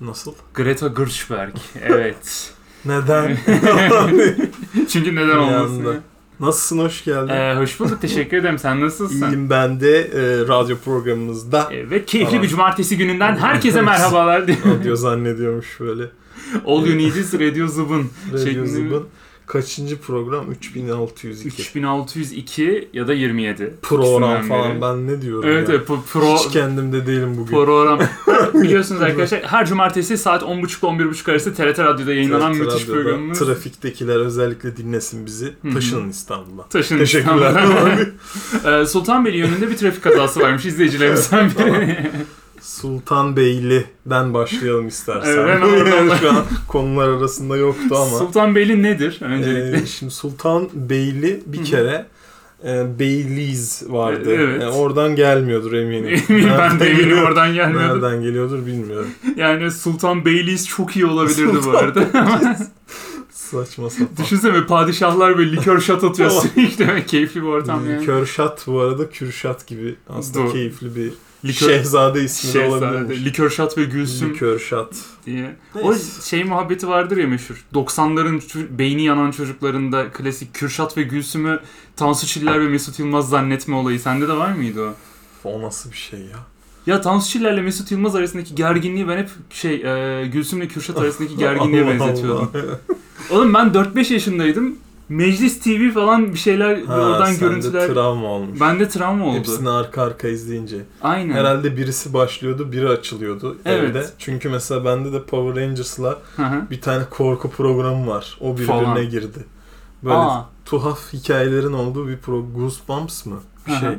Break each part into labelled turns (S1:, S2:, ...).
S1: Nasıl?
S2: Greta Gershberg. Evet.
S1: Neden?
S2: Çünkü neden
S1: Bir
S2: olmasın?
S1: anda.
S2: ya?
S1: Nasılsın? Hoş geldin.
S2: Ee, hoş bulduk. Teşekkür ederim. Sen nasılsın?
S1: İyiyim ben de e, radyo programımızda
S2: Ee, Ve keyifli
S1: Tamam.
S2: bir cumartesi gününden herkese
S1: Evet.
S2: merhabalar.
S1: radyo zannediyormuş böyle.
S2: All you need is Radio Zub'un.
S1: Radio
S2: Şeklinde-
S1: Zub'un kaçıncı program? 3602.
S2: 3602 ya da 27.
S1: Program
S2: İkisinden
S1: falan
S2: biri.
S1: ben ne diyorum
S2: Evet,
S1: ya.
S2: evet pro, pro,
S1: Hiç kendimde değilim bugün.
S2: program. Biliyorsunuz arkadaşlar her cumartesi saat 10.30 ile 11.30 arası TRT Radyo'da yayınlanan
S1: Evet,
S2: müthiş
S1: radyoda
S2: programımız.
S1: Trafiktekiler özellikle dinlesin bizi.
S2: Hı hı.
S1: Taşının İstanbul'a.
S2: Taşın
S1: Teşekkürler.
S2: Ee, Sultanbeyli yönünde bir trafik kazası varmış izleyicilerimizden biri.
S1: Sultanbeyli'den başlayalım istersen.
S2: Evet, hemen oradan
S1: Yani şu an konular arasında yoktu ama.
S2: Sultanbeyli nedir öncelikle?
S1: Ee, şimdi Sultanbeyli
S2: Hı
S1: bir
S2: hı.
S1: kere e, Beyliz vardı.
S2: E, evet.
S1: Yani oradan gelmiyordur eminim.
S2: Eminim ben de eminim
S1: Nereden
S2: oradan gelmiyordu.
S1: Nereden geliyordur bilmiyorum.
S2: Yani Sultan Beyliyiz çok iyi olabilirdi bu
S1: Sultan
S2: arada.
S1: Saçma sapan.
S2: Düşünsene padişahlar böyle likör şat atıyor
S1: Tamam.
S2: sürekli. Keyifli bir ortam yani.
S1: Körşat Hmm. bu arada Kürşat gibi aslında
S2: Doğru.
S1: keyifli bir
S2: Likör,
S1: şehzade ismi de
S2: şehzade,
S1: olabilirmiş.
S2: likör şat ve gülsüm
S1: Likörşat.
S2: diye. O
S1: Neyse.
S2: şey muhabbeti vardır ya meşhur. 90'ların ço- beyni yanan çocuklarında klasik Kürşat ve Gülsüm'ü Tansu Çiller ve Mesut Yılmaz zannetme olayı. Sende de var mıydı o?
S1: O nasıl bir şey ya?
S2: Ya Tansu Çiller'le Mesut Yılmaz arasındaki gerginliği ben hep şey e, Gülsüm'le Kürşat arasındaki gerginliğe
S1: Allah Allah.
S2: benzetiyordum. Oğlum ben 4-5 yaşındaydım. Meclis TV falan bir şeyler
S1: Ha,
S2: oradan
S1: sende
S2: görüntüler.
S1: travma olmuş.
S2: Bende travma oldu.
S1: Hepsini arka arka izleyince.
S2: Aynen.
S1: Herhalde birisi başlıyordu, biri açılıyordu
S2: Evet.
S1: evde. Çünkü mesela bende de Power Rangers'la
S2: Hı hı.
S1: bir tane korku programı var. O birbirine
S2: Falan.
S1: girdi. Böyle
S2: Aa,
S1: tuhaf hikayelerin olduğu bir pro Goosebumps mı? Bir
S2: Hı hı.
S1: şey.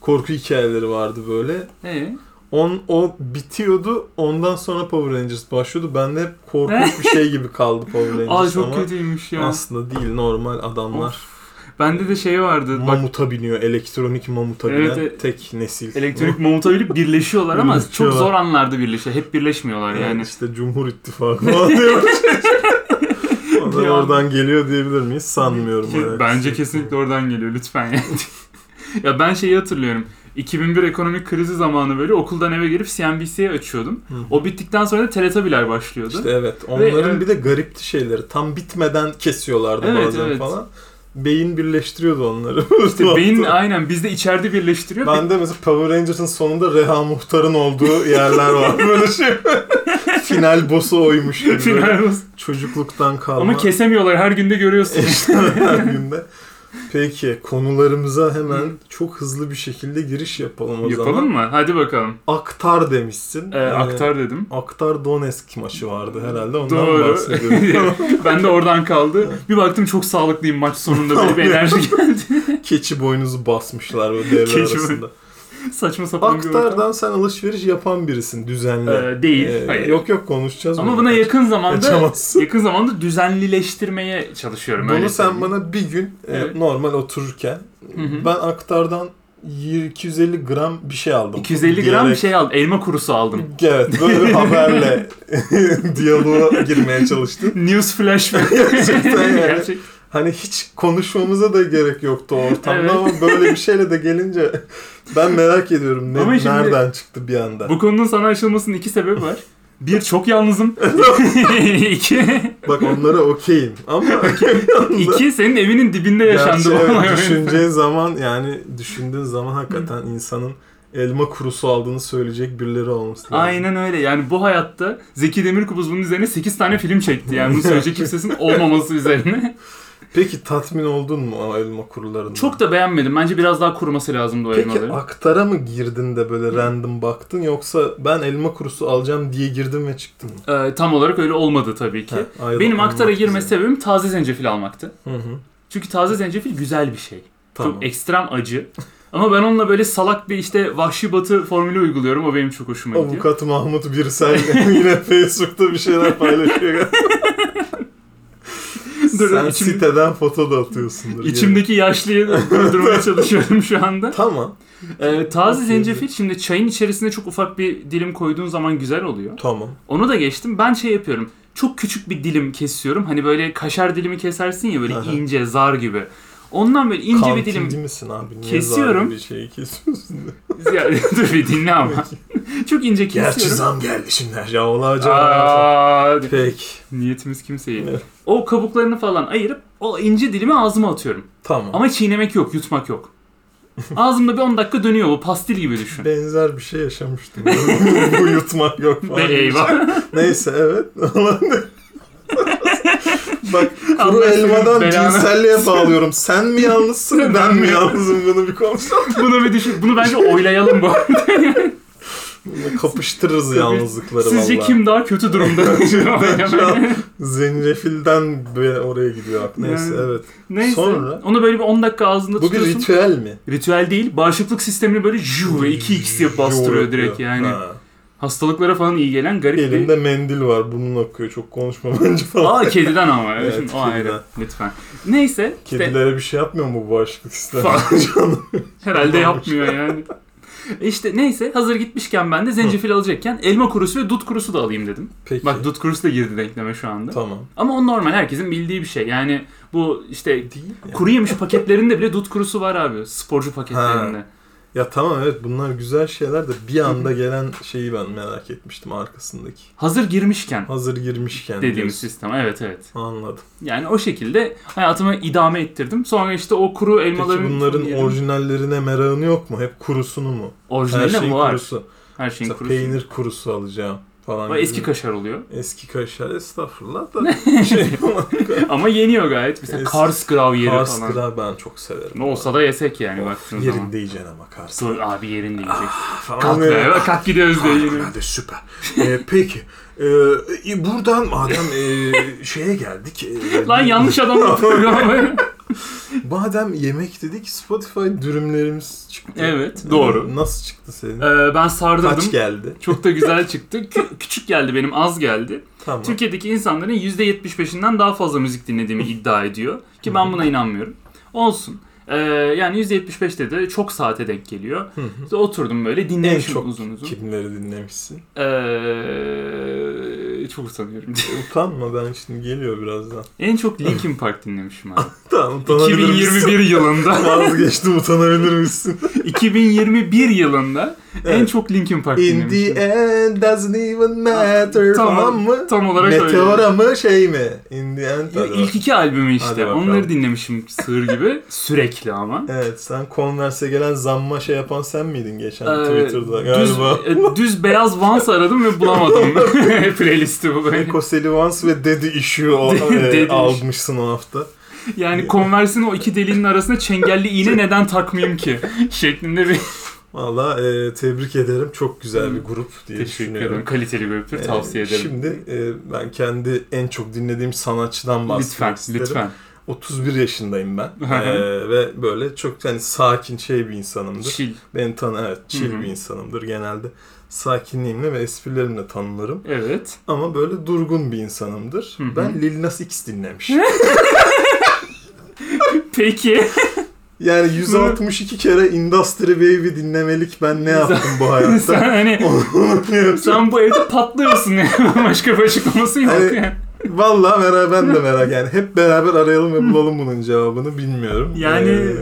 S1: Korku hikayeleri vardı böyle.
S2: ee?
S1: On, o bitiyordu. Ondan sonra Power Rangers başlıyordu. Bende hep korkunç bir şey gibi kaldı Power Rangers
S2: Aa çok
S1: ama
S2: kötüymüş ya.
S1: aslında değil normal adamlar.
S2: Bende de şey vardı. Bak
S1: Mamuta biniyor. Elektronik mamuta
S2: Evet,
S1: binen
S2: evet.
S1: tek nesil.
S2: Elektronik mamuta bilip birleşiyorlar ama çok
S1: Birleşiyorlar.
S2: zor anlarda birleşiyor. Hep birleşmiyorlar
S1: yani.
S2: yani.
S1: işte Cumhur İttifakı falan diyor. Onlar
S2: Bir an-
S1: oradan geliyor diyebilir miyiz? Sanmıyorum.
S2: Ki-
S1: evet.
S2: Bence kesinlikle oradan geliyor lütfen yani. ya ben şeyi hatırlıyorum. 2001 ekonomik krizi zamanı böyle okuldan eve gelip CNBC'ye açıyordum.
S1: Hı.
S2: O bittikten sonra da Teletabiler başlıyordu.
S1: İşte evet. Onların
S2: evet.
S1: bir de garipti şeyleri. Tam bitmeden kesiyorlardı
S2: Evet,
S1: bazen
S2: evet.
S1: falan. Beyin birleştiriyordu onları.
S2: İşte beyin aynen bizde içeride birleştiriyor.
S1: Ben de mesela Power Rangers'ın sonunda Reha Muhtar'ın olduğu yerler var. Böyle şey. Final boss'u oymuş gibi. Böyle.
S2: Final olsun.
S1: Çocukluktan kalma.
S2: Ama kesemiyorlar her günde görüyorsun.
S1: Her günde. Peki konularımıza hemen
S2: Hı.
S1: çok hızlı bir şekilde giriş yapalım o zaman.
S2: Yapalım mı? Hadi bakalım.
S1: Aktar demişsin.
S2: Ee,
S1: Ee,
S2: aktar dedim.
S1: Aktar Donetsk maçı vardı herhalde. Ondan
S2: Doğru.
S1: bahsediyorum.
S2: Ben de oradan kaldı. Bir baktım çok sağlıklıyım maç sonunda böyle bir enerji geldi.
S1: Keçi boynuzu basmışlar o devre
S2: Keçi
S1: arasında.
S2: Saçma sapan bir ortam.
S1: Aktar'dan sen alışveriş yapan birisin düzenli.
S2: Ee, değil.
S1: Ee,
S2: Hayır.
S1: Yok yok konuşacağız.
S2: Ama
S1: bunu.
S2: buna yakın zamanda
S1: Kaçamazsın.
S2: yakın zamanda düzenlileştirmeye çalışıyorum. öyle
S1: Bunu sen
S2: söyleyeyim.
S1: bana bir gün e,
S2: Evet.
S1: normal otururken
S2: hı.
S1: ben aktardan 250 gram bir şey aldım.
S2: 250 gram bir
S1: Diyerek-
S2: şey aldım. Elma kurusu aldım.
S1: Evet böyle bir haberle diyaloğa girmeye çalıştım.
S2: News flash mi?
S1: Gerçekten yani.
S2: Gerçek.
S1: Hani hiç konuşmamıza da gerek yoktu o ortamda
S2: Evet.
S1: ama böyle bir şeyle de gelince ben merak ediyorum ne,
S2: Ama şimdi-
S1: nereden çıktı bir anda.
S2: Bu konunun sana aşılmasının iki sebebi var. Bir, çok yalnızım. iki,
S1: Bak onlara okeyim ama
S2: iki, senin evinin dibinde yaşandı
S1: Gerçi
S2: bu olay.
S1: evet, düşüneceğin zaman yani düşündüğün zaman hakikaten insanın elma kurusu aldığını söyleyecek birileri olması lazım.
S2: Aynen öyle. Yani bu hayatta Zeki Demirkubuz bunun üzerine 8 tane film çekti. Yani bunu söyleyecek kimsesin olmaması üzerine.
S1: Peki tatmin oldun mu o elma kurularından?
S2: Çok da beğenmedim. Bence biraz daha kuruması lazımdı o
S1: Peki
S2: elmaları.
S1: aktara mı girdin de böyle random baktın yoksa ben elma kurusu alacağım diye girdim ve çıktım mı?
S2: Ee, tam olarak öyle olmadı tabii ki.
S1: Ha, ayrı
S2: Benim
S1: olmak
S2: aktara girme
S1: üzere.
S2: sebebim taze zencefil almaktı.
S1: Hı hı.
S2: Çünkü taze zencefil güzel bir şey.
S1: Tamam.
S2: Çok ekstrem acı. Ama ben onunla böyle salak bir işte vahşi batı formülü uyguluyorum. O benim çok hoşuma gidiyor.
S1: Avukat Mahmut Birsel yine Facebook'ta bir şeyler paylaşıyor.
S2: Dur,
S1: Sen
S2: içim-
S1: siteden foto da atıyorsundur.
S2: İçimdeki yaşlıyı durdurmaya çalışıyorum şu anda.
S1: Tamam.
S2: Ee, taze
S1: Okey.
S2: zencefil şimdi çayın içerisine çok ufak bir dilim koyduğun zaman güzel oluyor.
S1: Tamam.
S2: Onu da geçtim. Ben şey yapıyorum. Çok küçük bir dilim kesiyorum. Hani böyle kaşar dilimi kesersin ya böyle
S1: Aha.
S2: ince, zar gibi. Ondan böyle ince bir
S1: Kantinci
S2: dilim
S1: misin abi? Niye
S2: Kesiyorum.
S1: zararlı Bir şeyi kesiyorsun.
S2: Ya, dur bir dinle ama. Çok ince
S1: Gerçi
S2: kesiyorum.
S1: zam geldi şimdi her şey. Allah acaba.
S2: Aa,
S1: Peki.
S2: niyetimiz kimseyi.
S1: Evet.
S2: O kabuklarını falan ayırıp o ince dilimi ağzıma atıyorum.
S1: Tamam.
S2: Ama çiğnemek yok, yutmak yok. Ağzımda bir 10 dakika dönüyor o pastil gibi düşün.
S1: Benzer bir şey yaşamıştım. Bu yutmak yok
S2: Be
S1: falan.
S2: eyvah.
S1: Neyse evet. Bak kuru
S2: Allah senin
S1: elmadan
S2: belanı.
S1: cinselliğe bağlıyorum. Sen mi yalnızsın ben mi yalnızım bunu bir konuşalım.
S2: bunu bir düşün. Bunu bence oylayalım bu.
S1: Bunu Kapıştırırız yalnızlıkları valla.
S2: Sizce kim daha kötü durumda?
S1: Ben şu an zencefilden be- oraya gidiyor aklım. Neyse
S2: Yani.
S1: evet.
S2: Neyse.
S1: Sonra?
S2: Onu böyle bir 10 dakika ağzında
S1: Bu bir
S2: tutuyorsun.
S1: ritüel mi?
S2: Ritüel değil. Bağışıklık sistemini böyle juu ve 2x diye bastırıyor
S1: Yoğuruyor.
S2: direkt yani.
S1: Ha.
S2: Hastalıklara falan iyi gelen garip bir...
S1: Elinde mendil var bunun akıyor çok konuşma bence falan.
S2: Aa kediden ama.
S1: Evet,
S2: Şimdi o ayrı.
S1: kediden.
S2: Lütfen. Neyse. işte
S1: Kedilere bir şey yapmıyor mu bu bağışıklık sistemi?
S2: Falan.
S1: Canım.
S2: herhalde
S1: Olmamış.
S2: yapmıyor yani. İşte neyse hazır gitmişken ben de zencefil alacakken elma kurusu ve dut kurusu da alayım dedim.
S1: Peki.
S2: Bak dut kurusu da girdi denkleme şu anda.
S1: Tamam.
S2: Ama o normal herkesin bildiği bir şey. Yani bu işte
S1: Değil ya.
S2: kuru yemiş paketlerinde bile dut kurusu var abi. Sporcu paketlerinde.
S1: Ya tamam evet bunlar güzel şeyler de bir anda gelen şeyi ben merak etmiştim arkasındaki.
S2: Hazır girmişken
S1: Hazır girmişken
S2: dediğimiz
S1: diyorsun.
S2: sistem. Evet evet.
S1: Anladım.
S2: Yani o şekilde hayatımı idame ettirdim. Sonra işte o kuru
S1: Peki
S2: elmaların
S1: bunların
S2: yedim.
S1: orijinallerine merakın yok mu? Hep kurusunu mu? Her
S2: orijinali
S1: şeyin
S2: mi var?
S1: kurusu.
S2: Her şeyin
S1: Mesela
S2: kurusu.
S1: peynir kurusu alacağım falan.
S2: Ama
S1: gibi.
S2: eski kaşar oluyor.
S1: Eski kaşar estağfurullah da şey ama
S2: Ama yeniyor gayet. Mesela
S1: Eski-
S2: Kars gravyeri
S1: Kars
S2: falan.
S1: kıra ben çok severim.
S2: Ne olsa da yesek yani baktığın zaman.
S1: Yerinde yiyeceksin ama Kars.
S2: Dur abi yerin diyecek.
S1: Falan
S2: Kalk
S1: böyle.
S2: be bak kalk gidiyoruz de yine.
S1: Harikulade süper. Ee, peki. Ee, e, buradan madem e, şeye geldik. e,
S2: Lan yanlış adamla programı.
S1: Madem yemek dedik Spotify dürümlerimiz çıktı.
S2: Evet, doğru.
S1: Ee, Nasıl çıktı senin?
S2: Ee, ben
S1: Kaç
S2: sardırdım.
S1: geldi?
S2: Çok da güzel çıktı. Kü- küçük geldi benim az geldi.
S1: Tamam.
S2: Türkiye'deki insanların %75'inden daha fazla müzik dinlediğimi iddia ediyor. Ki ben buna inanmıyorum. Olsun. Ee, yani %75'te de çok saate denk geliyor.
S1: Hı hı.
S2: İşte oturdum böyle
S1: en
S2: dinlemişim
S1: çok
S2: uzun uzun.
S1: kimleri dinlemişsin?
S2: Ee, çok utanıyorum.
S1: Utanma ben şimdi geliyor birazdan.
S2: en çok Linkin Park dinlemişim abi.
S1: Tamam utanabilir misin?
S2: 2021 yılında.
S1: Vazgeçtim utanabilir misin?
S2: 2021 yılında en
S1: Evet.
S2: çok Linkin Park
S1: In
S2: dinlemişim.
S1: the end doesn't even matter
S2: şey. Tamam,
S1: tamam, mı?
S2: Tam olarak öyle.
S1: Meteora mı şey mi? In the end.
S2: Ya,
S1: hadi
S2: İlk iki albümü
S1: Hadi
S2: işte.
S1: bakalım.
S2: Onları dinlemişim sığır gibi. Sürekli ama.
S1: Evet sen Converse'e gelen zamma şey yapan sen miydin geçen
S2: Ee,
S1: Twitter'da
S2: düz,
S1: galiba?
S2: e, düz beyaz Vans aradım ve bulamadım. Playlisti bu böyle.
S1: Nico Selivans ve Daddy Issue o,
S2: Daddy
S1: e,
S2: Issue.
S1: almışsın o hafta.
S2: Yani Converse'in o iki deliğinin arasına çengelli
S1: Şey-
S2: iğne neden takmayayım ki? Şeklinde bir
S1: Valla e, tebrik ederim. Çok güzel bir grup diye
S2: teşekkür
S1: düşünüyorum.
S2: ederim. Kaliteli bir öpür
S1: E,
S2: tavsiye ederim.
S1: Şimdi e, ben kendi en çok dinlediğim sanatçıdan bahsetmek
S2: lütfen,
S1: isterim.
S2: lütfen.
S1: 31 yaşındayım ben.
S2: Hı hı.
S1: E, ve böyle çok yani sakin şey bir insanımdır.
S2: Chill.
S1: Beni tanı evet chill
S2: Hı hı.
S1: bir insanımdır genelde. Sakinliğimle ve esprilerimle tanınırım.
S2: Evet.
S1: Ama böyle durgun bir insanımdır.
S2: Hı hı.
S1: Ben Lil Nas X dinlemiş.
S2: Peki.
S1: yani 162 kere Industry Baby dinlemelik ben ne yaptım bu
S2: sen
S1: hayatta?
S2: hani
S1: Onu bilmiyorum.
S2: sen bu evde patlıyorsun yani. Başka bir açıklaması yok
S1: Hani-
S2: yani.
S1: Vallahi merak ben de merak yani hep beraber arayalım ve bulalım bunun cevabını bilmiyorum.
S2: Yani-
S1: Ee,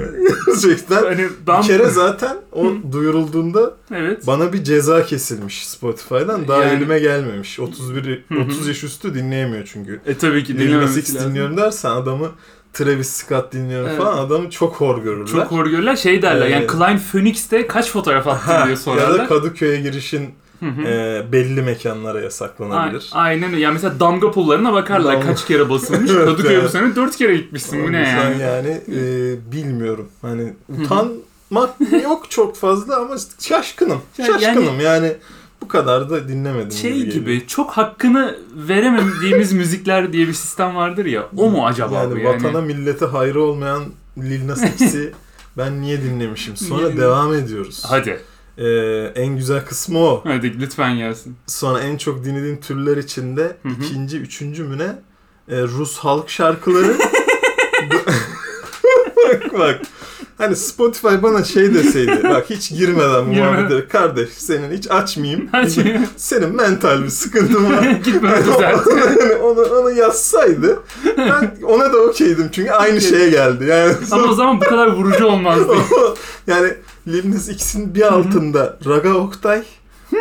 S1: gerçekten
S2: Hani
S1: bir
S2: ben
S1: kere zaten o duyurulduğunda
S2: evet.
S1: bana bir ceza kesilmiş Spotify'dan. Daha
S2: Yani-
S1: elime gelmemiş. 31
S2: Hı hı.
S1: 30 yaş üstü dinleyemiyor çünkü.
S2: E tabii ki
S1: Lil Nas
S2: dinlememesi
S1: X
S2: lazım.
S1: dinliyorum dersen adamı Travis Scott dinliyorum
S2: Evet.
S1: falan adamı çok hor görürler.
S2: Çok hor görürler. Şey derler yani
S1: Ee,
S2: Klein Phoenix'te kaç fotoğraf attın
S1: Ha,
S2: diye
S1: ya da
S2: sorarlar.
S1: Kadıköy'e girişin
S2: Hı hı.
S1: e, belli mekanlara
S2: A-
S1: yasaklanabilir.
S2: Aynen öyle. Yani mesela damga pullarına bakarlar
S1: Damga-
S2: kaç kere basılmış.
S1: Evet,
S2: Kadıköy bu
S1: evet.
S2: sene 4 kere gitmişsin. Bu ne
S1: Sen
S2: yani?
S1: yani e, bilmiyorum. Hani utanmak yok çok fazla ama şaşkınım.
S2: Ya
S1: Şaşkınım yani bu kadar da dinlemedim.
S2: Şey
S1: geliyor.
S2: gibi çok hakkını veremediğimiz müzikler diye bir sistem vardır ya. O mu acaba
S1: yani
S2: bu yani?
S1: vatana millete hayrı olmayan Lil Nas X'i ben niye dinlemişim? Sonra
S2: Niye
S1: devam ediyoruz.
S2: Hadi.
S1: E, en güzel kısmı o.
S2: Hadi lütfen gelsin.
S1: Sonra en çok dinlediğim türler içinde
S2: Hı hı.
S1: ikinci, üçüncü mü ne? E, Rus halk şarkıları. bak bak. Hani Spotify bana şey deseydi. Bak hiç girmeden bu
S2: Girme.
S1: muhabbetlere. Kardeş senin hiç açmayayım.
S2: Hadi.
S1: senin mental bir sıkıntın var.
S2: Gitme
S1: Hani
S2: düzelt.
S1: onu, hani onu, onu yazsaydı ben ona da okeydim çünkü aynı şeye geldi. Yani
S2: Ama o zaman bu kadar vurucu olmazdı.
S1: yani Lil Nas X'in bir altında Raga Oktay,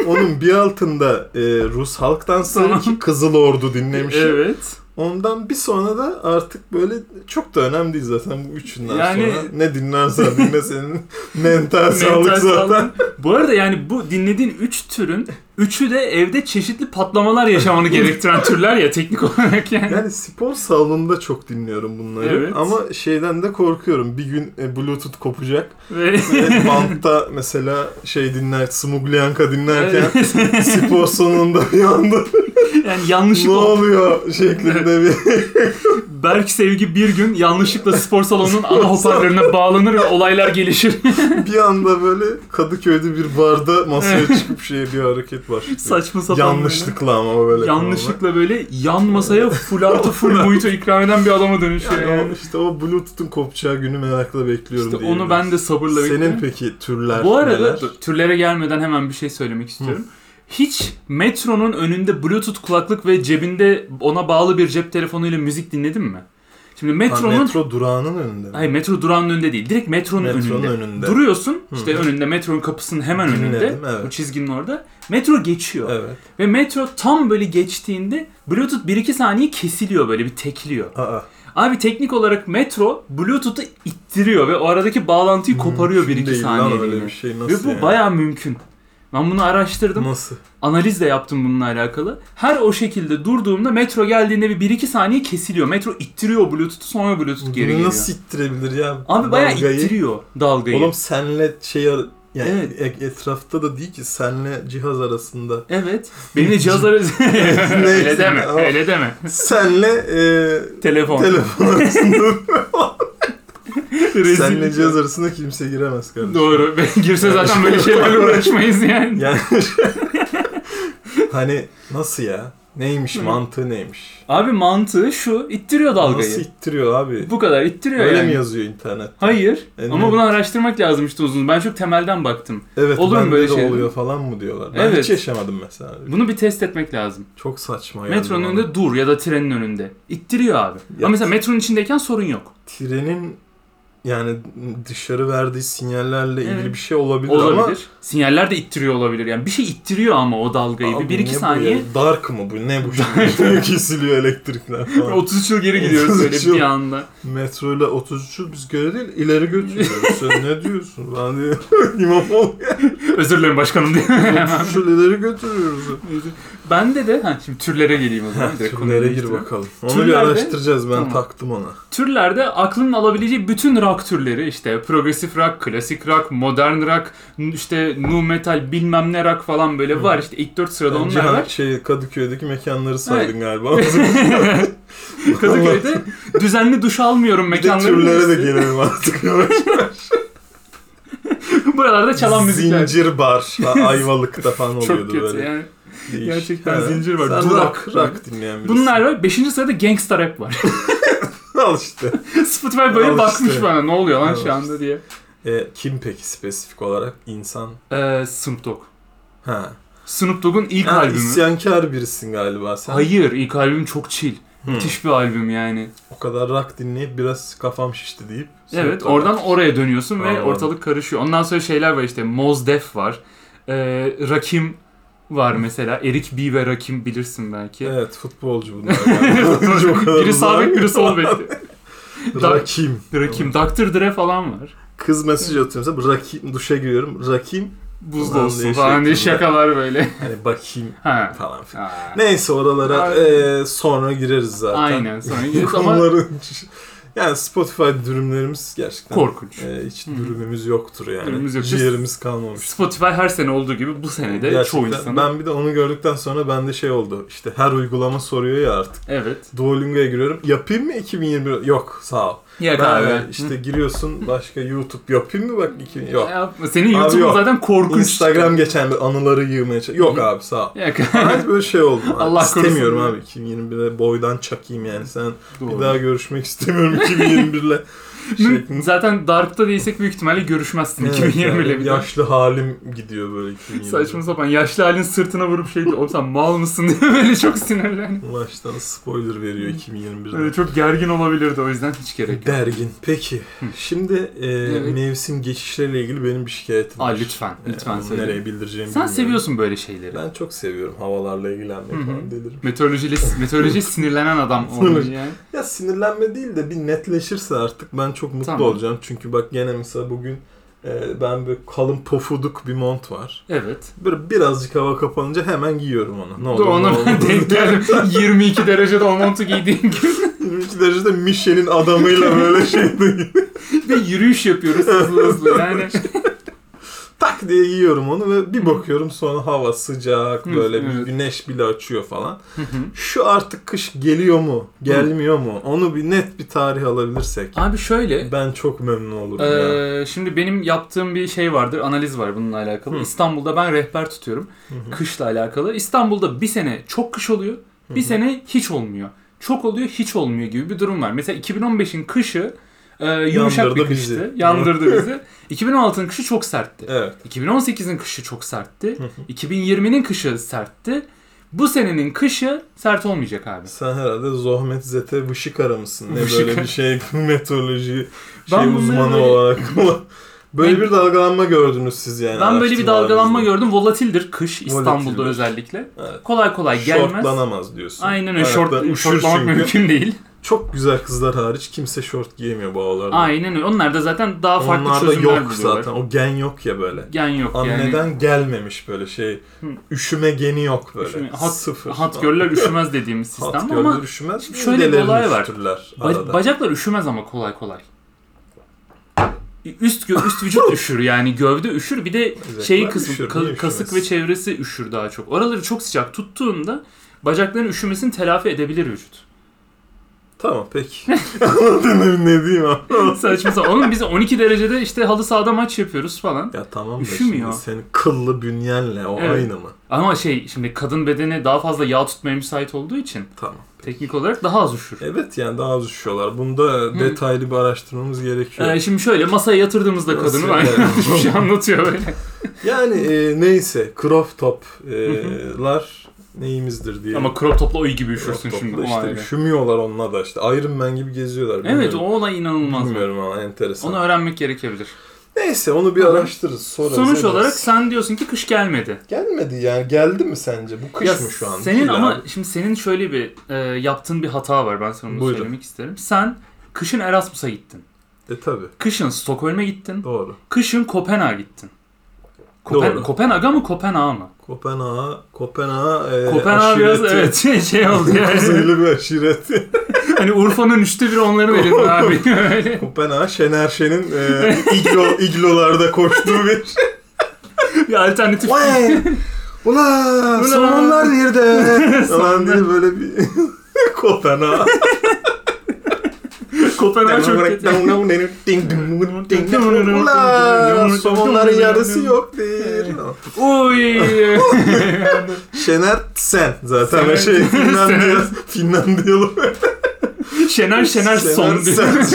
S1: Onun bir altında e, Rus halk dansları ki Kızıl Ordu dinlemişim.
S2: Evet.
S1: Ondan bir sonra da artık böyle çok da önemli değil zaten bu üçünden
S2: Yani-
S1: sonra. Ne dinlersen dinle senin mental sağlık
S2: Mental
S1: zaten.
S2: sağlık. Bu arada yani bu dinlediğin üç türün üçü de evde çeşitli patlamalar yaşamanı gerektiren türler ya teknik olarak yani.
S1: Yani spor salonunda çok dinliyorum bunları
S2: Evet.
S1: ama şeyden de korkuyorum. Bir gün e, bluetooth kopacak.
S2: Ve
S1: Ve bantta mesela şey dinler, Smuglyanka dinlerken
S2: Evet.
S1: spor salonunda bir anda
S2: yani
S1: ne
S2: yanlışlıkla
S1: oluyor şeklinde bir
S2: Berk Sevgi bir gün yanlışlıkla spor salonunun ana hoparlörüne bağlanır ve olaylar gelişir.
S1: bir anda böyle Kadıköy'de bir barda masaya çıkıp şey bir hareket başlıyor.
S2: Saçma sapan. böyle.
S1: Yanlışlıkla ama böyle.
S2: Yanlışlıkla böyle yan masaya full artı full mojito ikram eden bir adama dönüşüyor
S1: Yani
S2: yani.
S1: o- işte o Bluetooth'un kopacağı günü merakla bekliyorum
S2: İşte
S1: diyelim.
S2: onu ben de sabırla
S1: Senin
S2: bekliyorum.
S1: peki türler
S2: Bu arada
S1: neler?
S2: dur, türlere gelmeden hemen bir şey söylemek istiyorum. Hiç metronun önünde bluetooth kulaklık ve cebinde ona bağlı bir cep telefonuyla müzik dinledin mi? Şimdi metronun...
S1: Ha, metro durağının önünde mi?
S2: Hayır metro durağının önünde değil. Direkt metronun,
S1: Metronun
S2: önünde.
S1: önünde.
S2: Duruyorsun işte
S1: Hı hı.
S2: önünde metronun kapısının hemen önünde.
S1: Dinledim, evet.
S2: Bu çizginin orada. Metro geçiyor.
S1: Evet.
S2: Ve metro tam böyle geçtiğinde bluetooth 1-2 saniye kesiliyor böyle bir tekliyor.
S1: Aa.
S2: Abi teknik olarak metro bluetooth'u ittiriyor ve o aradaki bağlantıyı koparıyor
S1: Mümkün
S2: 1-2
S1: değil lan öyle
S2: saniyeliğine.
S1: bir şey
S2: Ve
S1: nasıl
S2: bu
S1: yani?
S2: bayağı mümkün. Ben bunu araştırdım.
S1: Nasıl?
S2: Analiz de yaptım bununla alakalı. Her o şekilde durduğumda metro geldiğinde bir 1-2 saniye kesiliyor. Metro ittiriyor Bluetooth'u sonra Bluetooth geri
S1: Bunu
S2: geliyor.
S1: nasıl ittirebilir ya?
S2: Abi bayağı
S1: Dalgayı.
S2: ittiriyor dalgayı.
S1: Oğlum senle şey ar- yani
S2: Evet.
S1: e- etrafta da değil ki senle cihaz arasında.
S2: Evet. Benimle cihaz arası... öyle deme.
S1: Ama-
S2: Öyle deme.
S1: Senle e,
S2: Telefon.
S1: telefon arasında.
S2: Rezil. şey.
S1: senle cihaz arasında kimse giremez kardeşim.
S2: Doğru. Ben girse zaten böyle şeylerle uğraşmayız yani.
S1: Yani hani nasıl ya? Neymiş mantığı neymiş?
S2: Abi mantığı şu. ittiriyor dalgayı.
S1: Nasıl ittiriyor abi?
S2: Bu kadar ittiriyor
S1: Öyle
S2: yani.
S1: mi yazıyor internet?
S2: Hayır.
S1: E, ne?
S2: Ama bunu araştırmak lazım işte uzun. Ben çok temelden baktım.
S1: Evet
S2: Olur mu
S1: bende
S2: böyle
S1: de
S2: şey?
S1: oluyor falan mı diyorlar. Ben
S2: Evet.
S1: hiç yaşamadım mesela.
S2: Bunu bir test etmek lazım.
S1: Çok saçma geldi
S2: Metronun
S1: bana.
S2: önünde dur ya da trenin önünde. İttiriyor abi.
S1: Ya-
S2: Ama mesela metronun içindeyken sorun yok.
S1: trenin yani dışarı verdiği sinyallerle ilgili
S2: Evet.
S1: bir şey olabilir,
S2: Olabilir.
S1: ama
S2: Sinyaller de ittiriyor olabilir. Yani bir şey ittiriyor ama o dalgayı.
S1: Abi
S2: bir
S1: ne
S2: iki
S1: bu
S2: saniye.
S1: ya? Dark mı bu? Ne bu? şimdi? Kesiliyor elektrikler falan.
S2: 33 yıl geri gidiyoruz
S1: 33
S2: böyle
S1: yıl.
S2: bir anda.
S1: Metro ile 33 biz göre değil ileri götürüyoruz. Sen ne diyorsun? Ben diyorum İmamoğlu
S2: Özür dilerim başkanım diye. Hemen.
S1: 33 ileri götürüyoruz.
S2: Bende de ha, şimdi türlere geleyim o zaman. Direkt konuya
S1: Türlere gir
S2: geçtim.
S1: bakalım. Onu bir
S2: Türlerde-
S1: araştıracağız ben
S2: Tamam.
S1: taktım ona.
S2: Türlerde aklının alabileceği bütün rock türleri işte progresif rock, klasik rock, modern rock, n- işte nu metal bilmem ne rock falan böyle var. İşte ilk dört sırada
S1: Bence
S2: onlar
S1: ha-
S2: var.
S1: şey Kadıköy'deki mekanları saydın galiba.
S2: Kadıköy'de düzenli duş almıyorum
S1: bir de
S2: mekanları.
S1: türlere de gelelim artık.
S2: Buralarda çalan müzikler.
S1: Zincir bar. Ha, Ayvalık'ta falan oluyordu
S2: Çok kötü
S1: böyle.
S2: yani.
S1: Değişik.
S2: Gerçekten zincir var.
S1: Sen
S2: Durak.
S1: rock, rock dinleyen birisin.
S2: Bunlar var. Beşinci sırada gangsta rap var.
S1: Al işte.
S2: Spotify böyle
S1: Al
S2: bakmış
S1: işte.
S2: bana ne oluyor lan
S1: Al
S2: şu anda
S1: işte.
S2: diye.
S1: E, kim peki spesifik olarak? insan?
S2: Ee, Snoop Dogg.
S1: Ha.
S2: Snoop Dogg'un ilk
S1: ha
S2: albümü.
S1: isyankar birisin galiba sen.
S2: Hayır ilk albüm çok chill.
S1: Hı.
S2: Müthiş bir albüm yani.
S1: O kadar rock dinleyip biraz kafam şişti deyip.
S2: Evet oradan oraya dönüyorsun ve
S1: Anladım.
S2: ortalık karışıyor. Ondan sonra şeyler var işte Mos Def var. Ee, Rakim var mesela. Erik B ve Rakim bilirsin belki.
S1: Evet futbolcu bunlar. Yani. O kadar
S2: biri sağ bek
S1: uzak.
S2: biri sol bek.
S1: Rakim.
S2: Rakim. Dr. Dre falan var.
S1: Kız mesaj atıyor mesela rakim duşa giriyorum. Rakim.
S2: Buzda
S1: Ulan
S2: olsun
S1: diye
S2: falan diye
S1: şeklinde.
S2: şakalar böyle.
S1: Hani bakayım
S2: ha.
S1: falan filan.
S2: Ha.
S1: Neyse oralara
S2: Abi.
S1: e, sonra gireriz zaten.
S2: Aynen sonra
S1: Bu
S2: gideriz ama
S1: konuların yani Spotify dürümlerimiz gerçekten
S2: korkunç.
S1: e, hiç
S2: Hı.
S1: dürümümüz yoktur yani.
S2: Dürümümüz yok.
S1: Ciğerimiz kalmamış.
S2: Spotify her sene olduğu gibi bu sene Hani de çoğu
S1: Gerçekten
S2: insan.
S1: ben bir de onu gördükten sonra bende şey oldu. İşte her uygulama soruyor ya artık.
S2: Evet.
S1: Duolingo'ya giriyorum. Yapayım mı 2021? Yok sağ ol.
S2: Ya
S1: Ben
S2: abi.
S1: de işte giriyorsun başka YouTube yapayım mı bak 2000 yok.
S2: Yapma. Senin
S1: Abi
S2: YouTube'un
S1: yok.
S2: zaten korkunç.
S1: Instagram geçen bir anıları yığmaya çalış- Yok abi sağ ol.
S2: Ya,
S1: Hadi böyle şey oldu. abi.
S2: Allah korusun.
S1: İstemiyorum abi 2021'de boydan çakayım yani sen
S2: Doğru.
S1: Bir daha görüşmek istemiyorum 2021'le. Şey-
S2: Zaten Dark'ta değilsek büyük ihtimalle görüşmezsin
S1: Evet,
S2: 2020 ile
S1: yani
S2: bir daha.
S1: Yaşlı halim gidiyor böyle 2020.
S2: Saçma sapan yaşlı halin sırtına vurup şey diyor. Oğlum sen mal mısın diye böyle çok sinirlendi.
S1: Baştan spoiler veriyor 2021'de.
S2: Böyle çok gergin olabilirdi o yüzden hiç gerek yok.
S1: Dergin. Peki. Şimdi e,
S2: Evet.
S1: mevsim geçişleriyle ilgili benim bir şikayetim
S2: Aa
S1: var.
S2: lütfen,
S1: E,
S2: lütfen
S1: onu
S2: söyle.
S1: Nereye bildireceğimi
S2: Sen
S1: bilmiyorum.
S2: seviyorsun böyle şeyleri.
S1: Ben çok seviyorum havalarla ilgilenmek
S2: Hı hı.
S1: falan delirim.
S2: Meteorolojiyle meteorolojiye sinirlenen adam olmuş yani.
S1: Ya sinirlenme değil de bir netleşirse artık ben çok mutlu
S2: Tamam.
S1: olacağım. Çünkü bak gene mesela bugün e, ben böyle kalın pofuduk bir mont var.
S2: Evet.
S1: Böyle birazcık hava kapanınca hemen giyiyorum onu. Ne
S2: Doğru
S1: olur ne
S2: ona ben
S1: olur.
S2: denk geldim. 22 derecede o montu giydiğim gün
S1: 22 derecede Michel'in adamıyla böyle şey şeyde
S2: ve yürüyüş yapıyoruz hızlı hızlı yani.
S1: tak diye giyiyorum onu ve bir bakıyorum sonra hava sıcak
S2: Hı,
S1: böyle bir
S2: evet.
S1: güneş bile açıyor falan. Şu artık kış geliyor mu, gelmiyor mu? Onu bir net bir tarih alabilirsek
S2: Abi şöyle
S1: ben çok memnun olurum ya.
S2: Ee, şimdi benim yaptığım bir şey vardır, analiz var bununla alakalı.
S1: Hı.
S2: İstanbul'da ben rehber tutuyorum.
S1: hı.
S2: Kışla alakalı. İstanbul'da bir sene çok kış oluyor, bir sene hiç olmuyor. Çok oluyor, hiç olmuyor gibi bir durum var. Mesela 2015'in kışı e, yumuşak
S1: Yandırdı
S2: bir kıştı.
S1: bizi.
S2: Yandırdı bizi. 2016'nın kışı çok sertti.
S1: Evet.
S2: 2018'in kışı çok sertti. 2020'nin kışı sertti. Bu senenin kışı sert olmayacak abi.
S1: Sen herhalde Zohmet Zete Vışıkara mısın? Ne
S2: Vışıkara.
S1: böyle bir şey meteoroloji şey
S2: Ben bunları
S1: uzmanı
S2: böyle-
S1: olarak. böyle
S2: Ben-
S1: bir dalgalanma gördünüz siz yani.
S2: Ben böyle bir dalgalanma
S1: araştırmalarınızda.
S2: gördüm. Volatildir kış İstanbul'da
S1: Volatildir.
S2: özellikle.
S1: Evet.
S2: Kolay kolay gelmez.
S1: Şortlanamaz diyorsun.
S2: Aynen öyle.
S1: Ayakta
S2: Şort,
S1: üşür
S2: şortlamak
S1: çünkü.
S2: mümkün değil.
S1: Çok güzel kızlar hariç kimse şort giyemiyor bu havalarda.
S2: Aynen öyle. Onlar da zaten daha farklı
S1: Onlar da
S2: çözümler
S1: yok
S2: buluyorlar.
S1: zaten. O gen yok ya böyle.
S2: Gen yok yani.
S1: Anneden gelmemiş böyle şey.
S2: Hı.
S1: Üşüme geni yok böyle.
S2: Üşüme- hat-
S1: Sıfır.
S2: Hat görler üşümez dediğimiz sistem
S1: Hat
S2: ama
S1: göller üşümez.
S2: Şimdi şöyle bir
S1: midelerini
S2: olay var.
S1: üşütürler
S2: ba-
S1: arada.
S2: bacaklar üşümez ama kolay kolay. Üst gö- üst vücut üşür yani gövde üşür bir de
S1: Bacaklar
S2: şey kısmı
S1: üşür,
S2: ka-
S1: niye
S2: kasık ve
S1: üşümez?
S2: çevresi üşür daha çok. Oraları çok sıcak tuttuğunda bacakların üşümesini telafi edebilir vücut.
S1: Tamam peki. Anladın ne diyeyim abi?
S2: Saçma sapan. Oğlum biz 12 derecede işte halı sahada maç yapıyoruz falan.
S1: Ya tamam da
S2: Üşümüyor.
S1: şimdi senin kıllı bünyenle o
S2: Evet.
S1: aynı mı?
S2: Ama şey şimdi kadın bedeni daha fazla yağ tutmaya müsait olduğu için
S1: Tamam.
S2: teknik olarak daha az üşür.
S1: Evet yani daha az üşüyorlar. Bunda detaylı bir araştırmamız gerekiyor.
S2: Ee, şimdi şöyle masaya yatırdığımızda
S1: Nasıl
S2: kadını ben
S1: yani?
S2: bir şey anlatıyor böyle.
S1: Yani e, neyse crop toplar neyimizdir diye.
S2: Ama crop topla oy gibi
S1: crop
S2: üşürsün
S1: topla
S2: şimdi o
S1: işte
S2: aile.
S1: üşümüyorlar onlar da işte. Iron Man gibi geziyorlar.
S2: Evet
S1: bilmiyorum.
S2: o olay inanılmaz.
S1: Bilmiyorum ama enteresan.
S2: Onu öğrenmek gerekebilir.
S1: Neyse onu bir
S2: Hı hı.
S1: araştırırız sonra.
S2: Sonuç olarak sen diyorsun ki kış gelmedi.
S1: gelmedi yani geldi mi sence? Bu kış
S2: Ya
S1: mı şu an?
S2: Senin
S1: Değil
S2: ama
S1: abi.
S2: şimdi senin şöyle bir e, yaptığın bir hata var. Ben sana bunu
S1: Buyurun.
S2: söylemek isterim. Sen kışın Erasmus'a gittin.
S1: E tabi
S2: Kışın Stockholm'e gittin.
S1: doğru.
S2: Kışın Kopenhag'a gittin. Kopen-
S1: Doğru.
S2: Kopenhag'a mı Kopenhag'a mı?
S1: Kopenhag'a Kopenhag'a e,
S2: Kopenhag biraz
S1: aşireti-
S2: evet şey, şey oldu yani.
S1: Kuzeyli bir aşireti.
S2: hani Urfa'nın üçte biri onların elinde abi. Öyle.
S1: Kopenhag Şener Şen'in e, iglo, iglolarda koştuğu bir
S2: bir alternatif.
S1: Vay! Ula! Somonlar yerde! Falan diye böyle bir Kopenhag.
S2: Kopenhag çok kötü.
S1: Ula! Somonların yarısı yok değil.
S2: Uy.
S1: Şener sen zaten
S2: Şener-
S1: ve şey Finlandiya Finlandiyalı
S2: Şener Şener son diyor.
S1: sen.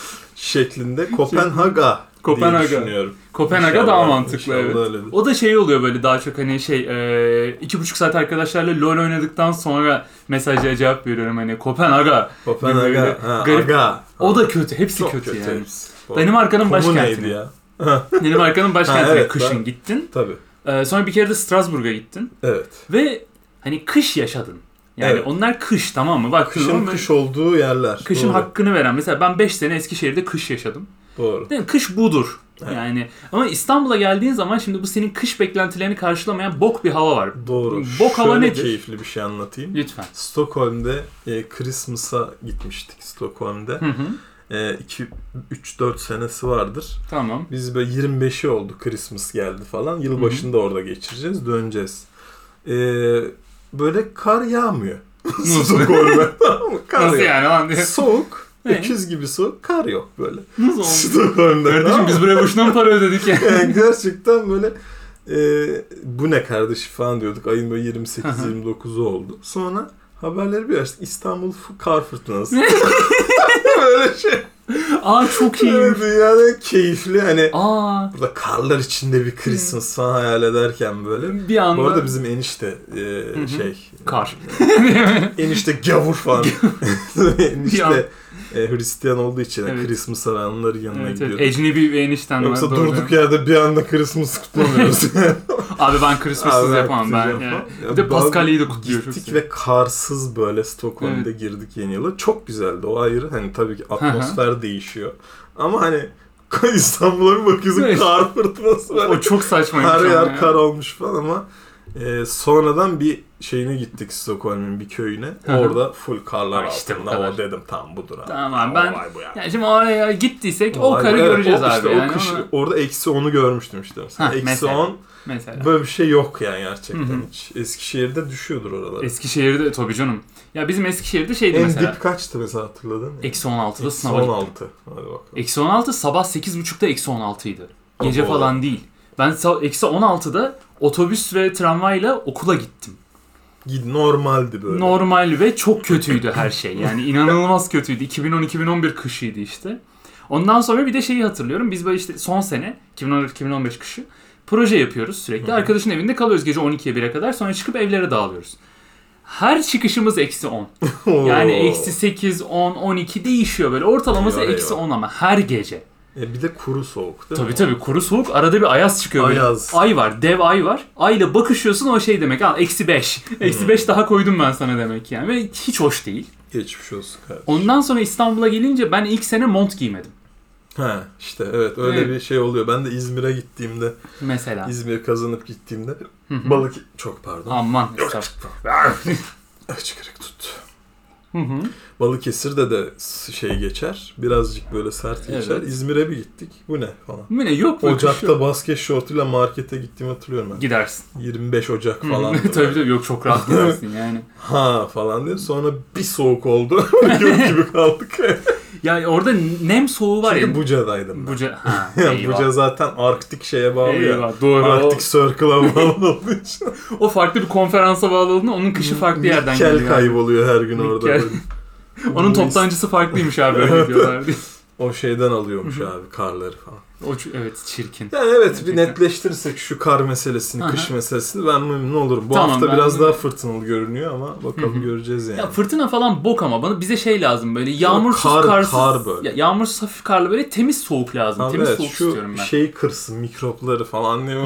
S1: şeklinde Kopenhag'a
S2: Kopenhag'a.
S1: diye düşünüyorum.
S2: Kopenhag'a
S1: İnşallah,
S2: daha mantıklı
S1: inşallah
S2: evet.
S1: öyledir.
S2: O da şey oluyor böyle daha çok hani şey e, iki buçuk saat arkadaşlarla LoL oynadıktan sonra mesajlara cevap veriyorum hani Kopenhag'a. Böyle
S1: Kopenhag'a. Ha,
S2: garip-
S1: aga.
S2: O da kötü. Hepsi
S1: Çok
S2: kötü,
S1: kötü
S2: yani.
S1: hepsi.
S2: Danimarka'nın
S1: Konu
S2: başkenti.
S1: neydi ya?
S2: Danimarka'nın başkentine
S1: evet,
S2: kışın
S1: ben-
S2: gittin.
S1: Tabii.
S2: E, sonra bir kere de Strasbourg'a gittin.
S1: Evet.
S2: Ve hani kış yaşadın. Yani
S1: Evet.
S2: onlar kış tamam mı? Bak
S1: Kışın kış olduğu yerler.
S2: kışın
S1: Doğru.
S2: hakkını veren. Mesela ben 5 sene Eskişehir'de kış yaşadım.
S1: Doğru.
S2: Değil mi? Kış budur.
S1: Evet.
S2: Yani ama İstanbul'a geldiğin zaman şimdi bu senin kış beklentilerini karşılamayan bok bir hava var.
S1: Doğru.
S2: Bok hava
S1: Şöyle
S2: nedir?
S1: keyifli bir şey anlatayım.
S2: Lütfen.
S1: Stockholm'de e, Christmas'a gitmiştik Stockholm'de. E,
S2: Hı hı.
S1: 2-3-4 senesi vardır.
S2: Tamam.
S1: Biz böyle 25'i oldu Christmas geldi falan. Yılbaşını da orada geçireceğiz. Döneceğiz. E, böyle kar yağmıyor. Stockholm'da. tamam mı? Kar
S2: Nasıl
S1: yağmıyor.
S2: yani lan diye.
S1: Soğuk.
S2: Ne?
S1: Öküz gibi soğuk. Kar yok böyle.
S2: Nasıl oldu?
S1: Stockholm'da. tamam
S2: Kardeşim
S1: mı?
S2: biz buraya boşuna mı para ödedik ya?
S1: Yani gerçekten böyle e, bu ne kardeşi falan diyorduk. Ayın böyle 28-29'u oldu. Sonra haberleri bir açtık. İstanbul f- kar fırtınası. Böyle şey.
S2: Aa çok iyi.
S1: Dünyada en keyifli hani
S2: Aa
S1: burada karlar içinde bir Christmas falan hayal ederken böyle.
S2: bir anda
S1: Bu arada bizim enişte e,
S2: hı.
S1: şey
S2: kar.
S1: enişte gavur falan. enişte
S2: an-
S1: e, Hristiyan olduğu için hani
S2: Evet.
S1: Christmas aranları yanına
S2: Evet,
S1: gidiyor.
S2: evet. Ecnebi ve enişten
S1: Yoksa
S2: var. doğru.
S1: durduk yerde bir anda Christmas kutlamıyoruz.
S2: Abi ben Christmas'ız
S1: Abi,
S2: yapamam ben.
S1: yapamam.
S2: Yani.
S1: Ya
S2: Bir de
S1: bazı
S2: Paskalya'yı da kutluyor. çok
S1: Gittik
S2: seviyorum.
S1: ve karsız böyle Stockholm'da girdik yeni yıla. Çok güzeldi o ayrı. Hani tabii ki atmosfer değişiyor. Ama hani İstanbul'a bir bakıyorsun
S2: Evet.
S1: kar fırtınası var.
S2: O çok saçmaymış.
S1: Her
S2: ama
S1: yer
S2: ya.
S1: kar olmuş falan ama e, sonradan bir şeyine gittik Stockholm'un bir köyüne.
S2: Hı hı.
S1: Orada full karlar
S2: Ha, işte bu
S1: altında.
S2: kadar.
S1: O dedim tam budur abi.
S2: Tamam,
S1: O
S2: ben-
S1: olay bu yani.
S2: Yani şimdi oraya gittiysek o
S1: Olay bu.
S2: karı
S1: Evet,
S2: göreceğiz
S1: o
S2: abi.
S1: işte, o
S2: yani
S1: kış-
S2: ama
S1: orada eksi 10'u görmüştüm işte. mesela.
S2: Ha,
S1: eksi
S2: mesela.
S1: 10
S2: mesela.
S1: böyle bir şey yok yani gerçekten
S2: Hı hı.
S1: hiç. Eskişehir'de düşüyordur oralara.
S2: Eskişehir'de tabii canım. Ya bizim Eskişehir'de şeydi
S1: en
S2: mesela.
S1: dip kaçtı mesela hatırladın mı?
S2: Eksi 16'da
S1: Eksi
S2: sınava gittim.
S1: 16. Hadi bakalım.
S2: Eksi 16 sabah 8.30'da eksi 16'ydı. Gece
S1: Oho.
S2: falan değil. Ben sa- eksi 16'da otobüs ve tramvayla okula gittim.
S1: Gid- Normaldi böyle.
S2: Normal ve çok kötüydü her şey. Yani inanılmaz kötüydü. 2010-2011 kışıydı işte. Ondan sonra bir de şeyi hatırlıyorum. Biz böyle işte son sene 2014-2015 kışı proje yapıyoruz sürekli.
S1: Hı hı.
S2: Arkadaşın evinde kalıyoruz gece 12'ye 1'e kadar. Sonra çıkıp evlere dağılıyoruz. Her çıkışımız eksi 10.
S1: Oo.
S2: Yani eksi 8, 10, 12 değişiyor böyle. Ortalaması
S1: Eyvah,
S2: eksi
S1: eyvah.
S2: 10 ama her gece.
S1: E bir de kuru soğuk değil
S2: Tabii
S1: mi?
S2: tabii kuru soğuk arada bir ayaz çıkıyor. böyle.
S1: Ayaz.
S2: Ay var dev ay var. Ayla bakışıyorsun o şey demek al eksi 5.
S1: Hmm.
S2: Eksi 5 daha koydum ben sana demek yani ve hiç hoş değil.
S1: Geçmiş olsun kardeşim.
S2: Ondan sonra İstanbul'a gelince ben ilk sene mont giymedim
S1: Ha işte evet öyle
S2: Evet.
S1: bir şey oluyor. Ben de İzmir'e gittiğimde,
S2: mesela.
S1: İzmir kazanıp gittiğimde
S2: Hı hı.
S1: balık çok pardon.
S2: Aman.
S1: Çıkırık tut.
S2: Hı hı.
S1: Balıkesir'de de s- şey geçer. Birazcık böyle sert geçer.
S2: Evet.
S1: İzmir'e bir gittik. Bu ne falan.
S2: Bu ne yok mu?
S1: Ocak'ta basket şortuyla markete gittiğimi hatırlıyorum ben.
S2: Gidersin.
S1: 25 Ocak falan.
S2: Falan. tabii tabii yok çok rahat gidersin yani.
S1: Ha falan diye. Sonra bir soğuk oldu. Yok gibi kaldık.
S2: Ya orada nem soğuğu var
S1: Çünkü
S2: ya.
S1: Buca'daydım ben.
S2: Buca. Ha,
S1: Yani
S2: eyvah.
S1: Buca zaten Arktik şeye bağlı ya.
S2: Eyvah, doğru. O,
S1: Arktik Circle'a bağlı olduğu için.
S2: o farklı bir konferansa bağladığında onun kışı farklı yerden
S1: Nikel
S2: geliyor.
S1: kayboluyor her gün orada.
S2: Nikel.
S1: böyle.
S2: Onun
S1: Louis-
S2: toptancısı farklıymış abi öyle
S1: Evet.
S2: diyorlar.
S1: O şeyden alıyormuş abi karları falan.
S2: O ç- evet çirkin.
S1: Yani evet bir
S2: Gerçekten.
S1: netleştirirsek şu kar meselesini,
S2: Aha.
S1: kış meselesini ben memnun olurum. Bu
S2: Tamam,
S1: hafta
S2: ben
S1: biraz
S2: de-
S1: daha fırtınalı görünüyor ama bakalım
S2: Hı hı.
S1: göreceğiz yani.
S2: Ya fırtına falan bok ama bana bize şey lazım böyle yağmursuz
S1: kar-
S2: karsız.
S1: kar böyle.
S2: Ya, yağmursuz hafif karlı böyle temiz soğuk lazım.
S1: Abi
S2: temiz
S1: evet,
S2: soğuk
S1: şu şey-
S2: istiyorum ben.
S1: şeyi kırsın mikropları falan diye.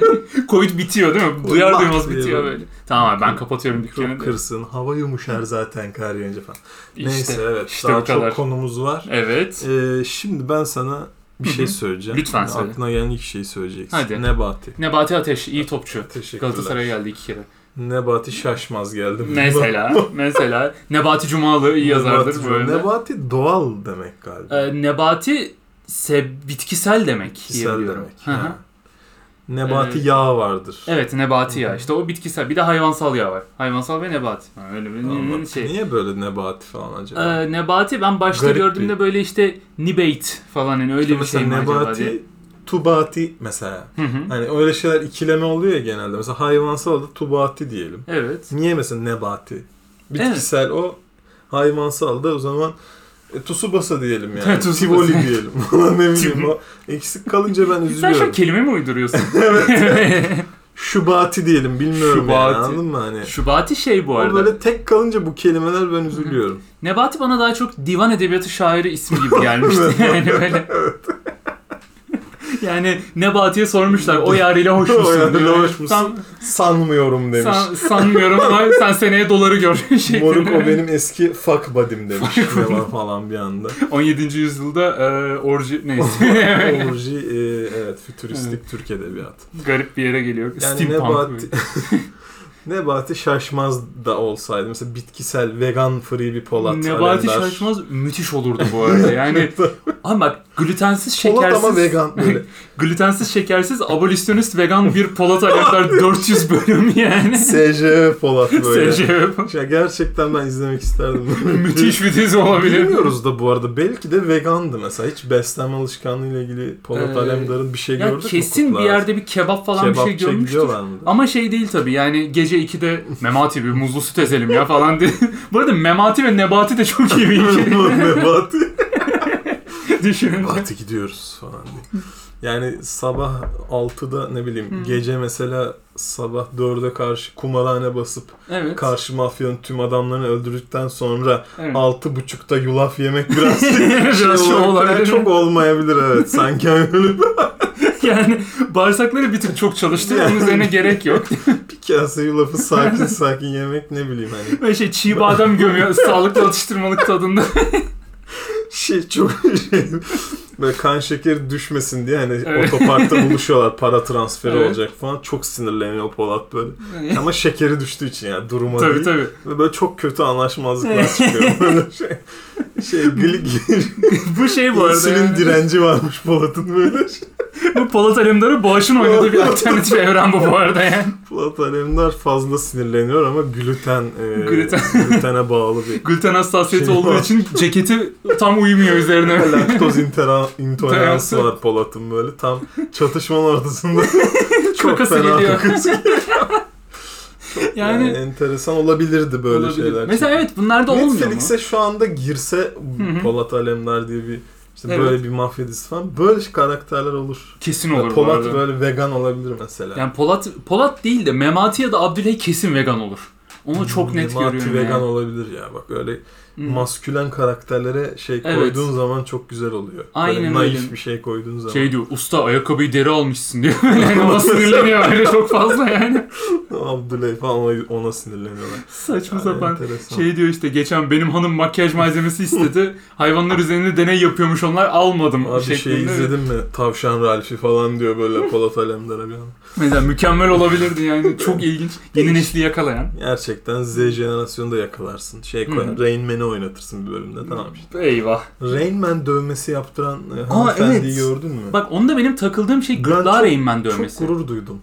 S2: Covid bitiyor değil mi?
S1: Covid
S2: Duyar
S1: bak
S2: duymaz
S1: diye
S2: bitiyor
S1: böyle.
S2: böyle. Tamam abi ben kapatıyorum
S1: Mikrop
S2: dükkanı. da.
S1: kırsın, hava yumuşar zaten kar yağınca falan.
S2: İşte,
S1: Neyse evet
S2: işte
S1: daha
S2: bu kadar.
S1: çok konumuz var.
S2: Evet.
S1: Ee, şimdi ben sana bir
S2: Hı hı.
S1: şey söyleyeceğim.
S2: Lütfen
S1: Yani
S2: söyle.
S1: Aklına gelen ilk şeyi söyleyeceksin.
S2: Hadi.
S1: Nebati.
S2: Nebati Ateş iyi topçu.
S1: Teşekkürler.
S2: Galatasaray'a geldi iki kere.
S1: Nebati şaşmaz geldi.
S2: Mesela, mesela Nebati Cumalı iyi yazardır
S1: Nebati,
S2: bu arada.
S1: Nebati doğal demek galiba.
S2: Ee, nebati se- bitkisel demek diye
S1: Kişisel
S2: biliyorum.
S1: demek.
S2: Hı hı.
S1: Ha. Nebati
S2: Ee,
S1: yağ vardır.
S2: Evet nebati ya işte o bitkisel bir de hayvansal yağ var. Hayvansal ve nebati. Ha, öyle bir
S1: Anladım.
S2: şey.
S1: Niye böyle nebati falan acaba?
S2: Ee, nebati ben başta
S1: Garip
S2: gördüğümde
S1: bir-
S2: böyle işte nibate falan hani öyle
S1: İşte
S2: bir şey mi
S1: mesela
S2: acaba diye.
S1: nebati, tubati mesela.
S2: Hı hı.
S1: Hani öyle şeyler ikileme oluyor ya genelde. Mesela hayvansal da tubati diyelim.
S2: Evet.
S1: Niye mesela nebati? Bitkisel o hayvansal da o zaman e, Tsubasa diyelim yani.
S2: Tsubasa.
S1: Tivoli diyelim. Ulan ne bileyim o eksik kalınca ben
S2: Sen şu an
S1: üzülüyorum.
S2: kelime mi uyduruyorsun?
S1: Şubati diyelim bilmiyorum
S2: Şubati.
S1: yani anladın mı hani?
S2: Şubati şey bu
S1: O
S2: arada.
S1: böyle tek kalınca bu kelimeler ben üzülüyorum.
S2: Nebati bana daha çok divan edebiyatı şairi ismi gibi gelmişti. yani böyle. yani Nebati'ye sormuşlar o yarıyla hoş
S1: O
S2: musun?
S1: yarıyla
S2: diyor.
S1: hoş musun?
S2: Tam-
S1: Sanmıyorum demiş.
S2: San- şey sanmıyorum ama sen seneye doları gör. şeklinde.
S1: Moruk o benim eski fuck buddy'm demiş. Falan falan bir anda.
S2: 17. yüzyılda e, orji neyse
S1: Orji e, evet fütüristik Türk edebiyatı.
S2: garip bir yere geliyor.
S1: Yani
S2: Steampunk.
S1: Nebati Nebati Şaşmaz da olsaydı mesela bitkisel vegan free bir Polat
S2: Nebati
S1: Alemdar.
S2: Şaşmaz müthiş olurdu bu arada. Yani Abi bak glutensiz
S1: Polat
S2: şekersiz
S1: ama vegan böyle.
S2: glutensiz şekersiz abolisyonist vegan bir Polat Alemdar 400 bölüm yani.
S1: SJV Polat böyle.
S2: SCV.
S1: Ya gerçekten ben izlemek isterdim.
S2: Müthiş bir dizi olabilir.
S1: Bilmiyoruz da bu arada. Belki de vegandı mesela. Hiç beslenme alışkanlığıyla ilgili Polat
S2: Ee,
S1: Alemdar'ın bir şey
S2: Ya
S1: gördük mü?
S2: kesin bir
S1: Kutlar?
S2: yerde bir kebap falan bir şey
S1: Kebapçı
S2: görmüştür.
S1: gidiyorlar mı?
S2: Ama şey değil tabii yani gece 2'de Memati bir muzlu süt ezelim ya falan diye. Bu arada Memati ve Nebati de çok iyi bir ikili
S1: Nebati.
S2: düşünün.
S1: Parti gidiyoruz falan diye. Yani sabah 6'da ne bileyim
S2: Hmm.
S1: gece mesela sabah 4'e karşı kumarhane basıp
S2: Evet.
S1: karşı mafyanın tüm adamlarını öldürdükten sonra
S2: evet.
S1: altı buçukta yulaf yemek biraz şey
S2: Biraz şey olabilir.
S1: Çok olmayabilir evet. Sanki hani öyle
S2: Yani bağırsakları bir tık çok çalıştı.
S1: Yani.
S2: Onun üzerine gerek yok.
S1: bir kase yulafı sakin sakin yemek ne bileyim hani.
S2: Böyle şey çiğ badem gömüyor. Sağlıklı atıştırmalık tadında.
S1: Şey çok şey. Böyle kan şekeri düşmesin diye hani
S2: Evet.
S1: otoparkta buluşuyorlar para transferi
S2: Evet.
S1: olacak falan. Çok sinirleniyor Polat böyle. Ama şekeri düştüğü için yani duruma
S2: tabii
S1: değil.
S2: tabii.
S1: Ve böyle çok kötü anlaşmazlıklar çıkıyor. Böyle şey, şey glik,
S2: Bu şey bu arada.
S1: insülin
S2: yani.
S1: direnci varmış Polat'ın böyle.
S2: Bu Polat Alemdar'ı bağışın oynadığı bir alternatif evren bu bu arada yani.
S1: Polat Alemdar fazla sinirleniyor ama gluten, e,
S2: Gluten.
S1: glutene bağlı bir
S2: Gluten hassasiyeti
S1: Şey
S2: olduğu
S1: var.
S2: için ceketi tam uyumuyor üzerine.
S1: laktoz intera- intoleransı var Polat'ın böyle tam çatışmanın ortasında çok
S2: Kakası
S1: fena
S2: geliyor.
S1: kakası geliyor. Yani,
S2: Yani
S1: enteresan olabilirdi böyle
S2: olabilir.
S1: şeyler.
S2: Mesela evet bunlar da olmuyor mu?
S1: Netflix'e şu anda girse
S2: hı.
S1: Polat Alemdar diye bir işte
S2: Evet.
S1: böyle bir mafya dizisi falan böyle karakterler olur.
S2: Kesin olur bu
S1: Polat
S2: arada.
S1: böyle vegan olabilir mesela.
S2: Yani Polat Polat değil de Memati ya da Abdüley kesin vegan olur. Onu çok net
S1: Hmm, Memati
S2: görüyorum
S1: vegan
S2: yani. Hmm.
S1: olabilir ya bak öyle
S2: Hı.
S1: maskülen karakterlere şey
S2: Evet.
S1: koyduğun zaman çok güzel oluyor.
S2: Aynen
S1: böyle naif
S2: öyle.
S1: bir şey koyduğun zaman.
S2: Şey diyor usta ayakkabıyı deri almışsın diyor. yani ona sinirleniyor öyle çok fazla yani.
S1: Abdüley falan ona- ona sinirleniyorlar.
S2: Saçma
S1: Yani
S2: sapan.
S1: enteresan.
S2: Şey diyor işte geçen benim hanım makyaj malzemesi istedi. Hayvanlar üzerinde deney yapıyormuş onlar almadım.
S1: Abi şey
S2: şeklinde.
S1: izledin mi? Tavşan Ralph'i falan diyor böyle Polat Alemdar'a bir an.
S2: Mesela mükemmel olabilirdi yani. Çok ilginç. Yeni nesli yakalayan.
S1: Gerçekten Z jenerasyonu da yakalarsın. Şey
S2: Hı.
S1: koyar, Rain Man'i oynatırsın bir bölümde tamam işte.
S2: Eyvah.
S1: Rain Man dövmesi yaptıran e, hanımefendiyi
S2: evet.
S1: gördün mü?
S2: Bak onda benim takıldığım şey
S1: Ben
S2: gırtlağa
S1: çok-
S2: Rainman
S1: Çok
S2: dövmesi.
S1: gurur duydum.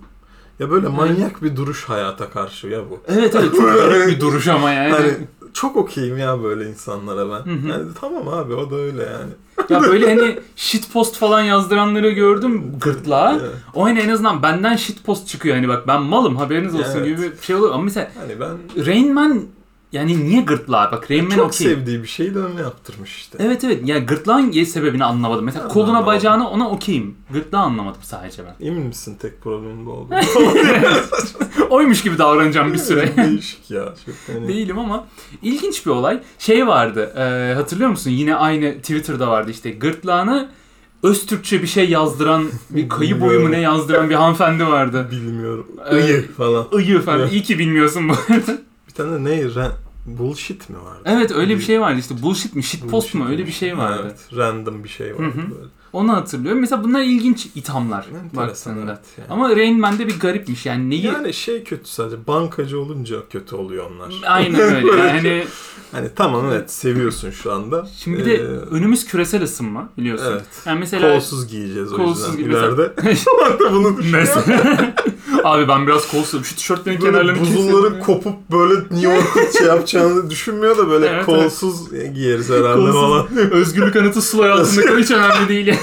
S1: Ya böyle
S2: Evet.
S1: manyak bir duruş hayata karşı ya bu.
S2: Evet evet çok garip bir duruş ama yani.
S1: Hani çok okeyim ya böyle insanlara ben.
S2: Hı hı.
S1: Yani tamam abi o da öyle yani.
S2: Ya böyle hani shitpost falan yazdıranları gördüm gırtlağa.
S1: Evet.
S2: O hani en azından benden shitpost çıkıyor. Hani bak ben malım haberiniz olsun
S1: Evet.
S2: gibi bir şey oluyor. Ama mesela
S1: Hani ben
S2: Rainman yani niye gırtlağa? Bak Rainman
S1: çok
S2: okey.
S1: sevdiği bir şeyi de öyle yaptırmış işte.
S2: Evet evet yani gırtlağın ye- sebebini anlamadım. Mesela
S1: Ben de
S2: koluna
S1: anlamadım.
S2: bacağına ona okeyim. Gırtlağı anlamadım sadece ben.
S1: Emin misin tek problemin bu oldu?
S2: Oymuş gibi davranacağım bir süre.
S1: Değişik ya. Çok hani-
S2: Değilim ama ilginç bir olay. Şey vardı e, hatırlıyor musun? Yine aynı Twitter'da vardı işte gırtlağına Öztürkçe bir şey yazdıran bir kayı boyu mu ne yazdıran bir hanımefendi vardı.
S1: Bilmiyorum.
S2: Evet.
S1: Iyi falan.
S2: Iyi efendim
S1: Evet.
S2: iyi ki bilmiyorsun bu arada.
S1: Bir tane ne? Ren- Bullshit mi vardı?
S2: Evet öyle bir şey vardı işte bullshit mi shitpost mu
S1: Bullshit
S2: öyle bir şey vardı.
S1: Evet, random bir şey vardı
S2: Hı hı.
S1: böyle.
S2: Onu hatırlıyorum. Mesela bunlar ilginç ithamlar
S1: Enteresan
S2: baktığında.
S1: evet yani.
S2: Ama Rain Man'de bir garipmiş yani neyi...
S1: Yani şey kötü sadece bankacı olunca kötü oluyor onlar.
S2: Aynen öyle yani
S1: Hani tamam evet seviyorsun şu anda.
S2: şimdi bir de
S1: Ee,
S2: önümüz küresel ısınma biliyorsun.
S1: Evet.
S2: Yani mesela
S1: kolsuz giyeceğiz o
S2: Kolsuz
S1: yüzden
S2: gibi-
S1: ileride. Ulan da bunu düşünüyor.
S2: Mesela. Abi ben biraz kolsuzum. Şu tişörtlerin
S1: Böyle
S2: kenarlarını
S1: buzulların
S2: kesin.
S1: kopup böyle New York'ta şey yapacağını düşünmüyor da böyle
S2: Evet, evet.
S1: kolsuz e, giyeriz herhalde
S2: Kolsuz.
S1: falan.
S2: Özgürlük anıtı sulay altında hiç önemli değil. yani.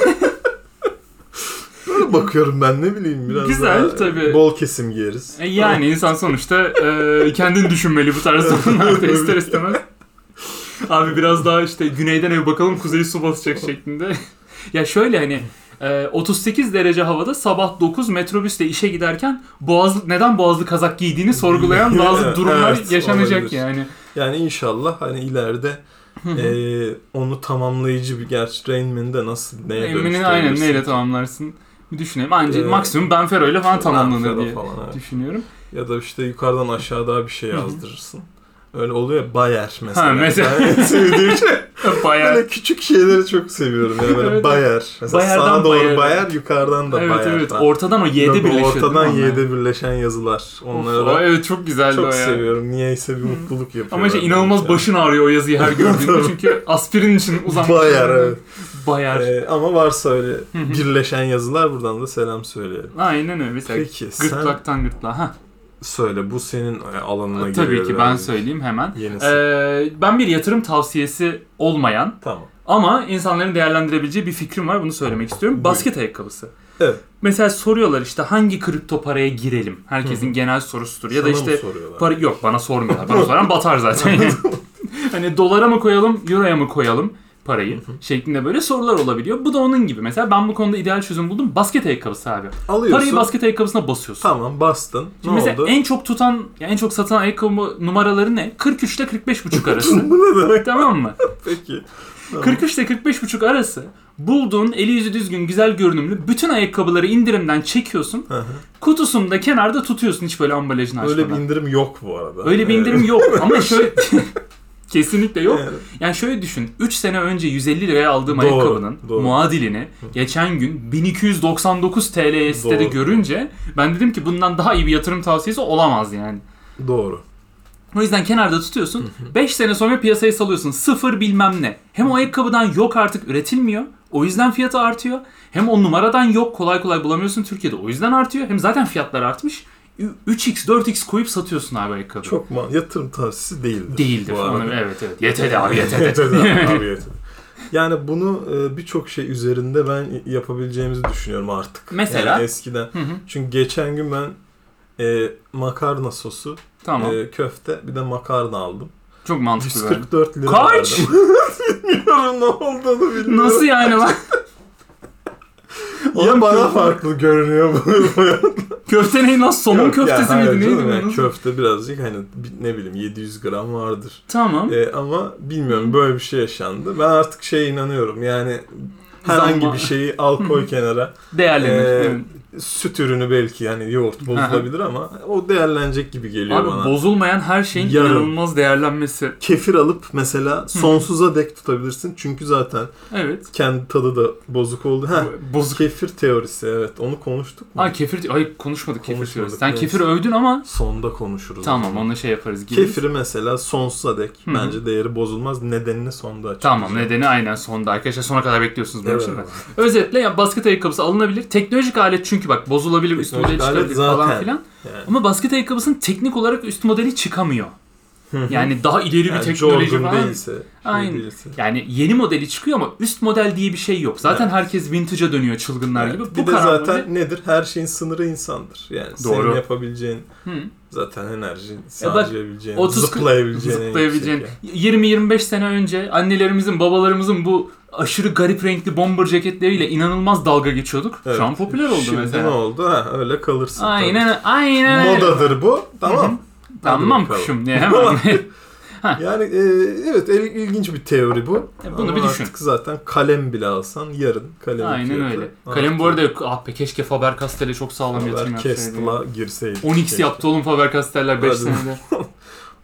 S1: Böyle bakıyorum ben ne bileyim biraz
S2: Güzel,
S1: daha
S2: tabii.
S1: bol kesim giyeriz.
S2: E yani insan sonuçta e, kendini düşünmeli bu tarz durumlarda ister istemez. Abi biraz daha işte güneyden ev bakalım kuzeyi su basacak şeklinde. ya şöyle hani e, 38 derece havada sabah 9 metrobüsle işe giderken boğazlı, neden boğazlı kazak giydiğini sorgulayan bazı
S1: Evet,
S2: durumlar
S1: evet,
S2: yaşanacak
S1: olabilir.
S2: yani.
S1: Yani inşallah hani ileride eee, onu tamamlayıcı bir gerçi Rain Man'de nasıl neye
S2: Emre'nin
S1: dönüştürebilirsin?
S2: aynen neyle tamamlarsın? Bir düşünelim. Anca
S1: Ee,
S2: maksimum Benfero ile falan tamamlanır
S1: Lanfero
S2: diye
S1: falan, evet.
S2: düşünüyorum.
S1: Ya da işte yukarıdan aşağı daha bir şey yazdırırsın. Öyle oluyor ya Bayer mesela.
S2: Ha, mesela.
S1: Ben sevdiğim şey.
S2: Bayağı.
S1: Böyle küçük şeyleri çok seviyorum. Yani böyle
S2: Evet.
S1: Bayer. Mesela
S2: Bayer'den
S1: sağa doğru
S2: Bayer'e.
S1: Bayer, yukarıdan da
S2: Evet
S1: Bayer.
S2: evet. Ortadan o Y'de
S1: Böyle
S2: birleşiyor. değil mi
S1: Ortadan
S2: onlar?
S1: Y'de birleşen yazılar.
S2: Of, o
S1: Onlara
S2: evet çok güzeldi
S1: çok
S2: o ya.
S1: seviyorum. Niyeyse bir mutluluk yapıyor.
S2: Ama işte
S1: bende
S2: inanılmaz
S1: mesela.
S2: başın ağrıyor o yazıyı her gördüğünde
S1: Tabii.
S2: çünkü aspirin için uzanmış.
S1: Bayer evet.
S2: Bayar.
S1: Ee, ama varsa öyle
S2: hı.
S1: birleşen yazılar buradan da selam söyleyelim.
S2: Aynen öyle. Mesela
S1: Peki sen
S2: gırtlaktan gırtlağa. Ha.
S1: söyle bu senin e, alanına geliyor.
S2: Tabii ki ben
S1: herhalde.
S2: söyleyeyim hemen.
S1: Yenisi.
S2: Ee, ben bir yatırım tavsiyesi olmayan
S1: Tamam.
S2: ama insanların değerlendirebileceği bir fikrim var bunu söylemek istiyorum.
S1: Buyurun.
S2: Basket ayakkabısı.
S1: Evet.
S2: Mesela soruyorlar işte hangi kripto paraya girelim? Herkesin genel sorusudur. Ya da
S1: Sana mı
S2: işte
S1: soruyorlar?
S2: Para yok bana sormuyorlar. Bana soran batar zaten. hani dolara mı koyalım, euroya mı koyalım parayı şeklinde böyle sorular olabiliyor. Bu da onun gibi. Mesela ben bu konuda ideal çözüm buldum. Basket ayakkabısı abi.
S1: Alıyorsun.
S2: Parayı basket ayakkabısına basıyorsun.
S1: Tamam bastın.
S2: Şimdi
S1: ne
S2: mesela
S1: oldu?
S2: en çok tutan, yani en çok satan ayakkabı numaraları ne? 43 ile 45,5 arası.
S1: Bu ne demek
S2: tamam mı?
S1: peki? Tamam.
S2: 43 ile 45,5 arası bulduğun eli yüzü düzgün güzel görünümlü bütün ayakkabıları indirimden çekiyorsun.
S1: Hı hı.
S2: Kutusunu da kenarda tutuyorsun hiç böyle ambalajını açmadan.
S1: Öyle bir indirim yok bu arada.
S2: Öyle bir
S1: Evet.
S2: indirim yok ama şöyle kesinlikle yok.
S1: Evet.
S2: Yani şöyle düşün. 3 sene önce 150 liraya aldığım
S1: Doğru,
S2: ayakkabının
S1: doğru.
S2: muadilini geçen gün 1299 TL'ye sitede
S1: Doğru.
S2: görünce ben dedim ki bundan daha iyi bir yatırım tavsiyesi olamaz yani.
S1: Doğru.
S2: O yüzden kenarda tutuyorsun. 5 sene sonra piyasaya salıyorsun. Sıfır bilmem ne. Hem o ayakkabıdan yok artık üretilmiyor. O yüzden fiyatı artıyor. Hem o numaradan yok kolay kolay bulamıyorsun Türkiye'de. O yüzden artıyor. Hem zaten fiyatlar artmış. 3x 4x koyup satıyorsun abi ayakkabı.
S1: Çok man yatırım tavsiyesi değildir.
S2: Değildir.
S1: bu arada.
S2: Onu- evet evet. YTD abi YTD.
S1: Yeter de abi, yeter. Yani bunu e, birçok şey üzerinde ben yapabileceğimizi düşünüyorum artık.
S2: Mesela?
S1: Yani eskiden.
S2: Hı hı,
S1: Çünkü geçen gün ben e, makarna sosu,
S2: tamam.
S1: e, köfte bir de makarna aldım.
S2: Çok mantıklı. bence.
S1: 144 lira
S2: Kaç?
S1: verdim. Bilmiyorum ne olduğunu bilmiyorum.
S2: Nasıl yani lan?
S1: Ya bana farklı görünüyor bu.
S2: Köfte ne lan? Somun
S1: Yok ya,
S2: köftesi
S1: hayır
S2: miydi? Neydi
S1: canım,
S2: bu?
S1: yani
S2: Nasıl?
S1: köfte birazcık hani bi- ne bileyim 700 gram vardır.
S2: Tamam.
S1: Ee, ama bilmiyorum böyle bir şey yaşandı. Ben artık şeye inanıyorum yani herhangi
S2: Zamma-
S1: bir şeyi al koy kenara.
S2: Değerlenir.
S1: Ee,
S2: evet.
S1: Süt ürünü belki yani yoğurt bozulabilir ama o değerlenecek gibi geliyor
S2: Abi
S1: bana.
S2: bozulmayan her şeyin
S1: Yarın.
S2: inanılmaz değerlenmesi.
S1: Kefir alıp mesela sonsuza dek tutabilirsin. Çünkü zaten
S2: Evet.
S1: kendi tadı da bozuk oldu. Ha,
S2: Bu- Bozuk.
S1: kefir teorisi evet onu konuştuk mu?
S2: Aa kefir. Ay konuşmadık kefir
S1: Konuşmadık,
S2: diyoruz. Sen
S1: neyse.
S2: kefir övdün ama
S1: Sonda konuşuruz.
S2: tamam onunla şey yaparız. Gireriz.
S1: Kefiri mesela sonsuza dek
S2: hı.
S1: bence değeri bozulmaz. Nedenini sonda açıklayacağım.
S2: Tamam nedeni aynen sonda arkadaşlar sona kadar bekliyorsunuz böyle
S1: Evet.
S2: şeyler. Özetle ya basket ayakkabısı alınabilir. Teknolojik alet çünkü bak bozulabilir üst
S1: Teknolojik
S2: modeli çıkabilir
S1: alet
S2: falan
S1: zaten.
S2: filan.
S1: Yani.
S2: Ama basket ayakkabısının teknik olarak üst modeli çıkamıyor. Yani daha ileri bir
S1: Yani
S2: teknoloji
S1: Jordan
S2: var.
S1: değilse. şey
S2: Aynen.
S1: değilse.
S2: Yani yeni modeli çıkıyor ama üst model diye bir şey yok. Zaten
S1: Evet.
S2: herkes vintage'a dönüyor çılgınlar
S1: Evet.
S2: gibi. Bu
S1: bir de
S2: karar
S1: zaten
S2: modeli-
S1: nedir? Her şeyin sınırı insandır. Yani
S2: Doğru.
S1: senin yapabileceğin
S2: Hı.
S1: zaten enerji,
S2: Ya bak,
S1: sağlayabileceğin,
S2: 30
S1: zıplayabileceğin, en
S2: zıplayabileceğin.
S1: yüksek
S2: 20-25 sene önce annelerimizin, babalarımızın bu aşırı garip renkli bomber ceketleriyle inanılmaz dalga geçiyorduk.
S1: Evet.
S2: Şu an popüler oldu
S1: Şimdi
S2: mesela.
S1: ne oldu? Ha, öyle kalırsın.
S2: Aynen,
S1: tabii.
S2: aynen. öyle.
S1: Modadır bu.
S2: Hı hı.
S1: Tamam. Hadi
S2: Tamam
S1: bakalım.
S2: kuşum diye hemen.
S1: Yani e, evet el- ilginç bir teori bu.
S2: E, bunu
S1: Ama
S2: bir düşün.
S1: Artık zaten kalem bile alsan yarın kalem
S2: aynen öyle. Kalem bu arada yok. Ah be keşke Faber Castell'e çok sağlam yatırım yapsaydı.
S1: Kestel'a girseydi.
S2: 10x yaptı oğlum Faber Castell'ler 5
S1: Hadi.
S2: senede.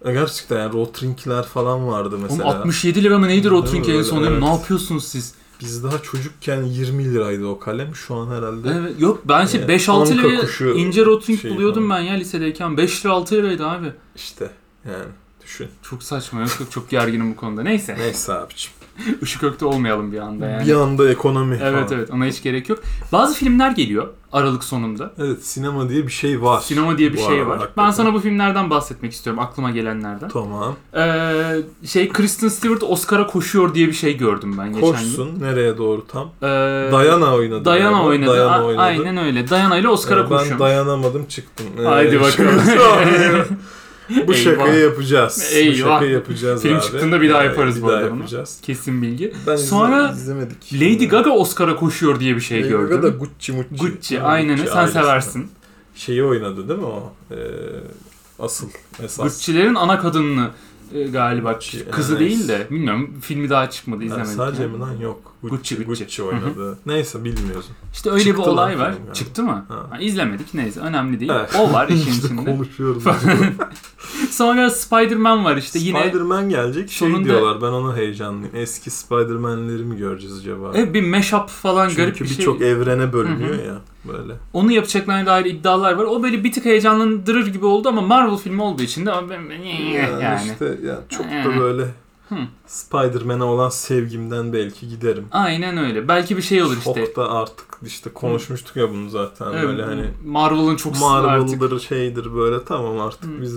S1: Ya Gerçekten yani Rotrink'ler falan vardı
S2: Oğlum
S1: mesela.
S2: 67 lira mı neydi
S1: Değil mi
S2: Rotring en
S1: böyle?
S2: son? dedim. Ne
S1: Evet.
S2: yapıyorsunuz siz?
S1: Biz daha çocukken 20 liraydı o kalem. Şu an herhalde
S2: Evet, yok ben şey
S1: Ee,
S2: 5-6
S1: Anka
S2: liraya
S1: kuşu
S2: ince Rotring
S1: şeyi
S2: buluyordum
S1: falan.
S2: ben ya lisedeyken. 5 lira 6 liraydı abi.
S1: işte yani düşün.
S2: Çok saçma yok yok çok gerginim bu konuda. Neyse
S1: Neyse abicim.
S2: ışık ökte olmayalım bir anda yani.
S1: Bir anda ekonomi
S2: evet
S1: falan.
S2: evet ona hiç gerek yok. Bazı filmler geliyor Aralık sonunda.
S1: Evet sinema diye bir şey var.
S2: Sinema diye bir
S1: Bu
S2: şey
S1: arada
S2: var.
S1: hakikaten.
S2: Ben sana bu filmlerden bahsetmek istiyorum aklıma gelenlerden.
S1: Tamam.
S2: Ee, şey Kristen Stewart Oscar'a koşuyor diye bir şey gördüm ben geçen gün.
S1: Koşsun nereye doğru tam?
S2: Ee,
S1: Dayana oynadı.
S2: Diana
S1: galiba.
S2: oynadı.
S1: Diana
S2: A-
S1: oynadı.
S2: Aynen öyle. Diana ile Oscar'a
S1: Ee, Ben
S2: koşuyormuş.
S1: dayanamadım çıktım. Ee,
S2: Haydi bakalım.
S1: şu- Bu şakayı
S2: Eyvah.
S1: yapacağız.
S2: Eyvah.
S1: Bu şakayı yapacağız
S2: Film
S1: abi.
S2: çıktığında bir daha
S1: Ee,
S2: yaparız
S1: bir
S2: bu
S1: daha
S2: arada bunu.
S1: yapacağız.
S2: Kesin bilgi.
S1: Ben izle-
S2: Sonra
S1: izlemedik.
S2: Lady Gaga Oscar'a koşuyor diye bir şey
S1: Lady
S2: gördüm.
S1: Gaga da Gucci Mucci.
S2: Gucci
S1: Yani
S2: aynen
S1: Gucci
S2: sen
S1: ailesinden.
S2: seversin.
S1: Şeyi oynadı değil mi o? Ee, asıl. Esas.
S2: Gucci'lerin ana kadınını e, galiba
S1: Gucci,
S2: kızı
S1: Hermes.
S2: değil de bilmiyorum filmi daha çıkmadı
S1: Ha,
S2: izlemedik.
S1: sadece
S2: yani.
S1: mi lan yok.
S2: Gucci,
S1: Gucci, Gucci,
S2: Gucci.
S1: oynadı. Neyse bilmiyorsun.
S2: İşte öyle
S1: Çıktı
S2: bir olay
S1: lan
S2: var.
S1: film galiba.
S2: Çıktı mı?
S1: Ha.
S2: Ha, izlemedik neyse önemli değil.
S1: Evet.
S2: O var işin
S1: İşte
S2: içinde.
S1: konuşuyoruz.
S2: Sonra Spider-Man var işte yine.
S1: Spider-Man gelecek şey
S2: sonunda-
S1: diyorlar ben ona heyecanlıyım. Eski Spider-Man'leri mi göreceğiz acaba?
S2: E, bir mashup falan garip
S1: Çünkü
S2: bir şey.
S1: birçok evrene bölünüyor ya böyle.
S2: Onu yapacaklarına dair iddialar var. O böyle bir tık heyecanlandırır gibi oldu ama Marvel filmi olduğu için de ama ben- ben-
S1: Yani,
S2: yani.
S1: işte ya çok
S2: Yani.
S1: da böyle
S2: Hı.
S1: Spider-Man'e olan sevgimden belki giderim.
S2: Aynen öyle. Belki bir şey olur işte.
S1: Çok da artık işte konuşmuştuk ya bunu zaten
S2: Evet,
S1: böyle hani
S2: Marvel'ın çok Marvel artık.
S1: Marvel'dır şeydir böyle tamam artık
S2: Hı.
S1: biz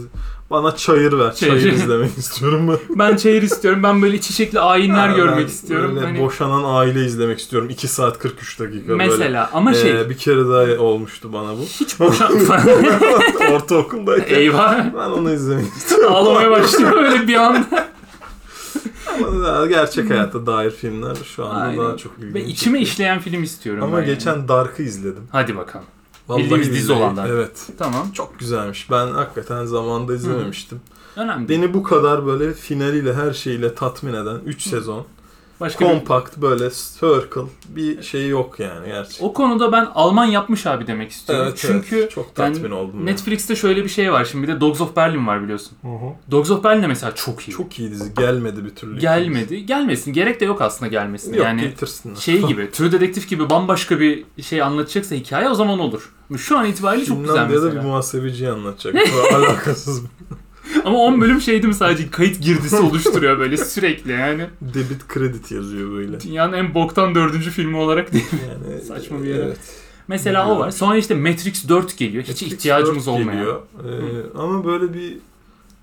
S1: bana çayır ver.
S2: Çayır.
S1: Çayır, izlemek istiyorum ben.
S2: Ben çayır istiyorum. Ben böyle çiçekli ayinler
S1: Ha,
S2: görmek
S1: ben
S2: istiyorum.
S1: böyle
S2: Hani
S1: Boşanan aile izlemek istiyorum. 2 saat 43 dakika böyle.
S2: mesela ama şey
S1: Ee, bir kere daha olmuştu bana bu.
S2: hiç boşan
S1: Ortaokuldayken.
S2: Eyvah.
S1: Ben onu izlemek istiyorum.
S2: Ağlamaya başlıyor böyle bir anda.
S1: Ama daha Gerçek hayata dair filmler şu anda
S2: Aynen.
S1: daha çok ilginç.
S2: Ve içime işleyen film istiyorum.
S1: Ama
S2: ben yani.
S1: geçen Dark'ı izledim.
S2: Hadi bakalım.
S1: Vallahi
S2: Bildiğimiz dizi
S1: billahi.
S2: olandan.
S1: Evet.
S2: Tamam.
S1: Çok güzelmiş. Ben hakikaten zamanda izlememiştim.
S2: Önemli değil.
S1: Beni bu kadar böyle finaliyle her şeyiyle tatmin eden 3 sezon.
S2: Başka bir...
S1: Kompakt böyle circle bir şey yok yani gerçekten.
S2: O konuda ben Alman yapmış abi demek istiyorum.
S1: Evet,
S2: Çünkü
S1: evet. çok tatmin
S2: yani
S1: oldum. ya.
S2: Netflix'te şöyle bir şey var. Şimdi bir de Dogs of Berlin var biliyorsun.
S1: Hı hı.
S2: Dogs of Berlin de mesela çok iyi.
S1: Çok iyi dizi. Gelmedi bir türlü.
S2: Gelmedi. Gelmesin. Gerek de yok aslında gelmesine.
S1: Yok yani,
S2: yani şey gibi, True Detective gibi bambaşka bir şey anlatacaksa hikaye o zaman olur. Şu an itibariyle çok güzel
S1: Finlandiya'da bir
S2: mesela.
S1: muhasebeciyi anlatacak. Bu alakasız bir-
S2: Ama 10 bölüm şey değil mi sadece kayıt girdisi oluşturuyor böyle sürekli yani.
S1: debit kredit yazıyor böyle.
S2: Dünyanın en boktan dördüncü filmi olarak değil.
S1: Yani
S2: Saçma bir yere.
S1: Evet.
S2: Mesela o var. Sonra işte Matrix 4 geliyor. Hiç
S1: Netflix
S2: ihtiyacımız
S1: dört
S2: olmayan.
S1: geliyor. Ee, ama böyle bir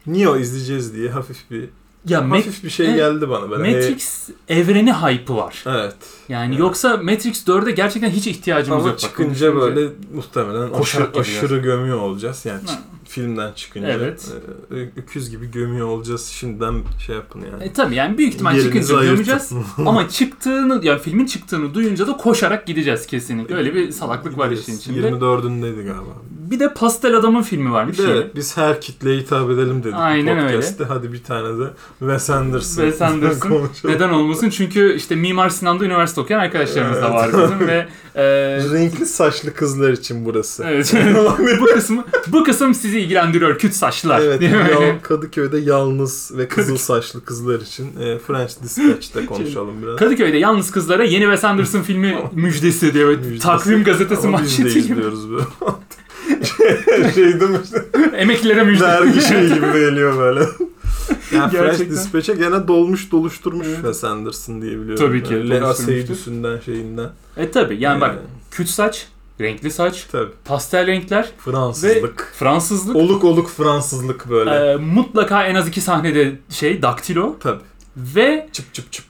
S1: Neo izleyeceğiz diye hafif bir
S2: Ya Ma-
S1: hafif bir şey
S2: Evet.
S1: geldi bana böyle.
S2: Matrix evreni hype'ı var.
S1: Ee, evet.
S2: Yani
S1: Evet.
S2: yoksa Matrix 4'e gerçekten hiç ihtiyacımız
S1: Ama
S2: yok. Bak, bunu
S1: çıkınca
S2: düşününce.
S1: böyle muhtemelen
S2: Koşarak
S1: aşırı,
S2: gidiyor.
S1: aşırı gömüyor olacağız. Yani
S2: Ha.
S1: çı- filmden çıkınca
S2: Evet.
S1: e, öküz gibi gömüyor olacağız. Şimdiden şey yapın yani.
S2: E tabi yani büyük ihtimal
S1: Yerinizi
S2: çıkınca
S1: ayırtın.
S2: gömeceğiz. Ama çıktığını yani filmin çıktığını duyunca da koşarak gideceğiz kesinlikle. Öyle bir salaklık var işin
S1: Gideceğiz.
S2: içinde.
S1: 24'ündeydi galiba.
S2: Bir de Pastel Adam'ın filmi
S1: Bir
S2: varmış.
S1: de
S2: yine.
S1: evet, biz her kitleye hitap edelim dedik
S2: şey. Aynen
S1: bu podcast'te. Hadi bir tane de Wes Anderson.
S2: Wes Anderson.
S1: konuşalım.
S2: Neden olmasın? Çünkü işte Mimar Sinan'da üniversite okuyan arkadaşlarımız da
S1: Evet.
S2: var bizim ve e,
S1: Renkli saçlı kızlar için burası.
S2: Evet. bu kısmı bu kısım sizi ilgilendiriyor küt saçlar.
S1: Evet,
S2: Değil mi?
S1: ya- Kadıköy'de yalnız ve kızıl saçlı kızlar için e, French Dispatch'te konuşalım biraz.
S2: Kadıköy'de yalnız kızlara yeni Wes Anderson filmi müjdesi diye evet,
S1: Müjdesi.
S2: takvim gazetesi
S1: Ama biz de
S2: manşeti gibi.
S1: izliyoruz böyle. şey değil mi?
S2: Emeklilere müjde.
S1: Dergi şey gibi geliyor böyle. Yani
S2: Gerçekten.
S1: French Dispatch'e gene dolmuş doluşturmuş
S2: Evet.
S1: Wes Anderson diye biliyorum.
S2: Tabii ki,
S1: Böyle Lena
S2: doluşturmuştur.
S1: Seydous'undan şeyinden.
S2: E tabi yani bak
S1: Ee,
S2: küt saç, renkli saç,
S1: tabii.
S2: pastel renkler,
S1: Fransızlık.
S2: Fransızlık.
S1: Oluk oluk Fransızlık böyle.
S2: e, mutlaka en az iki sahnede şey daktilo
S1: Tabii.
S2: ve
S1: Çıp çıp çıp.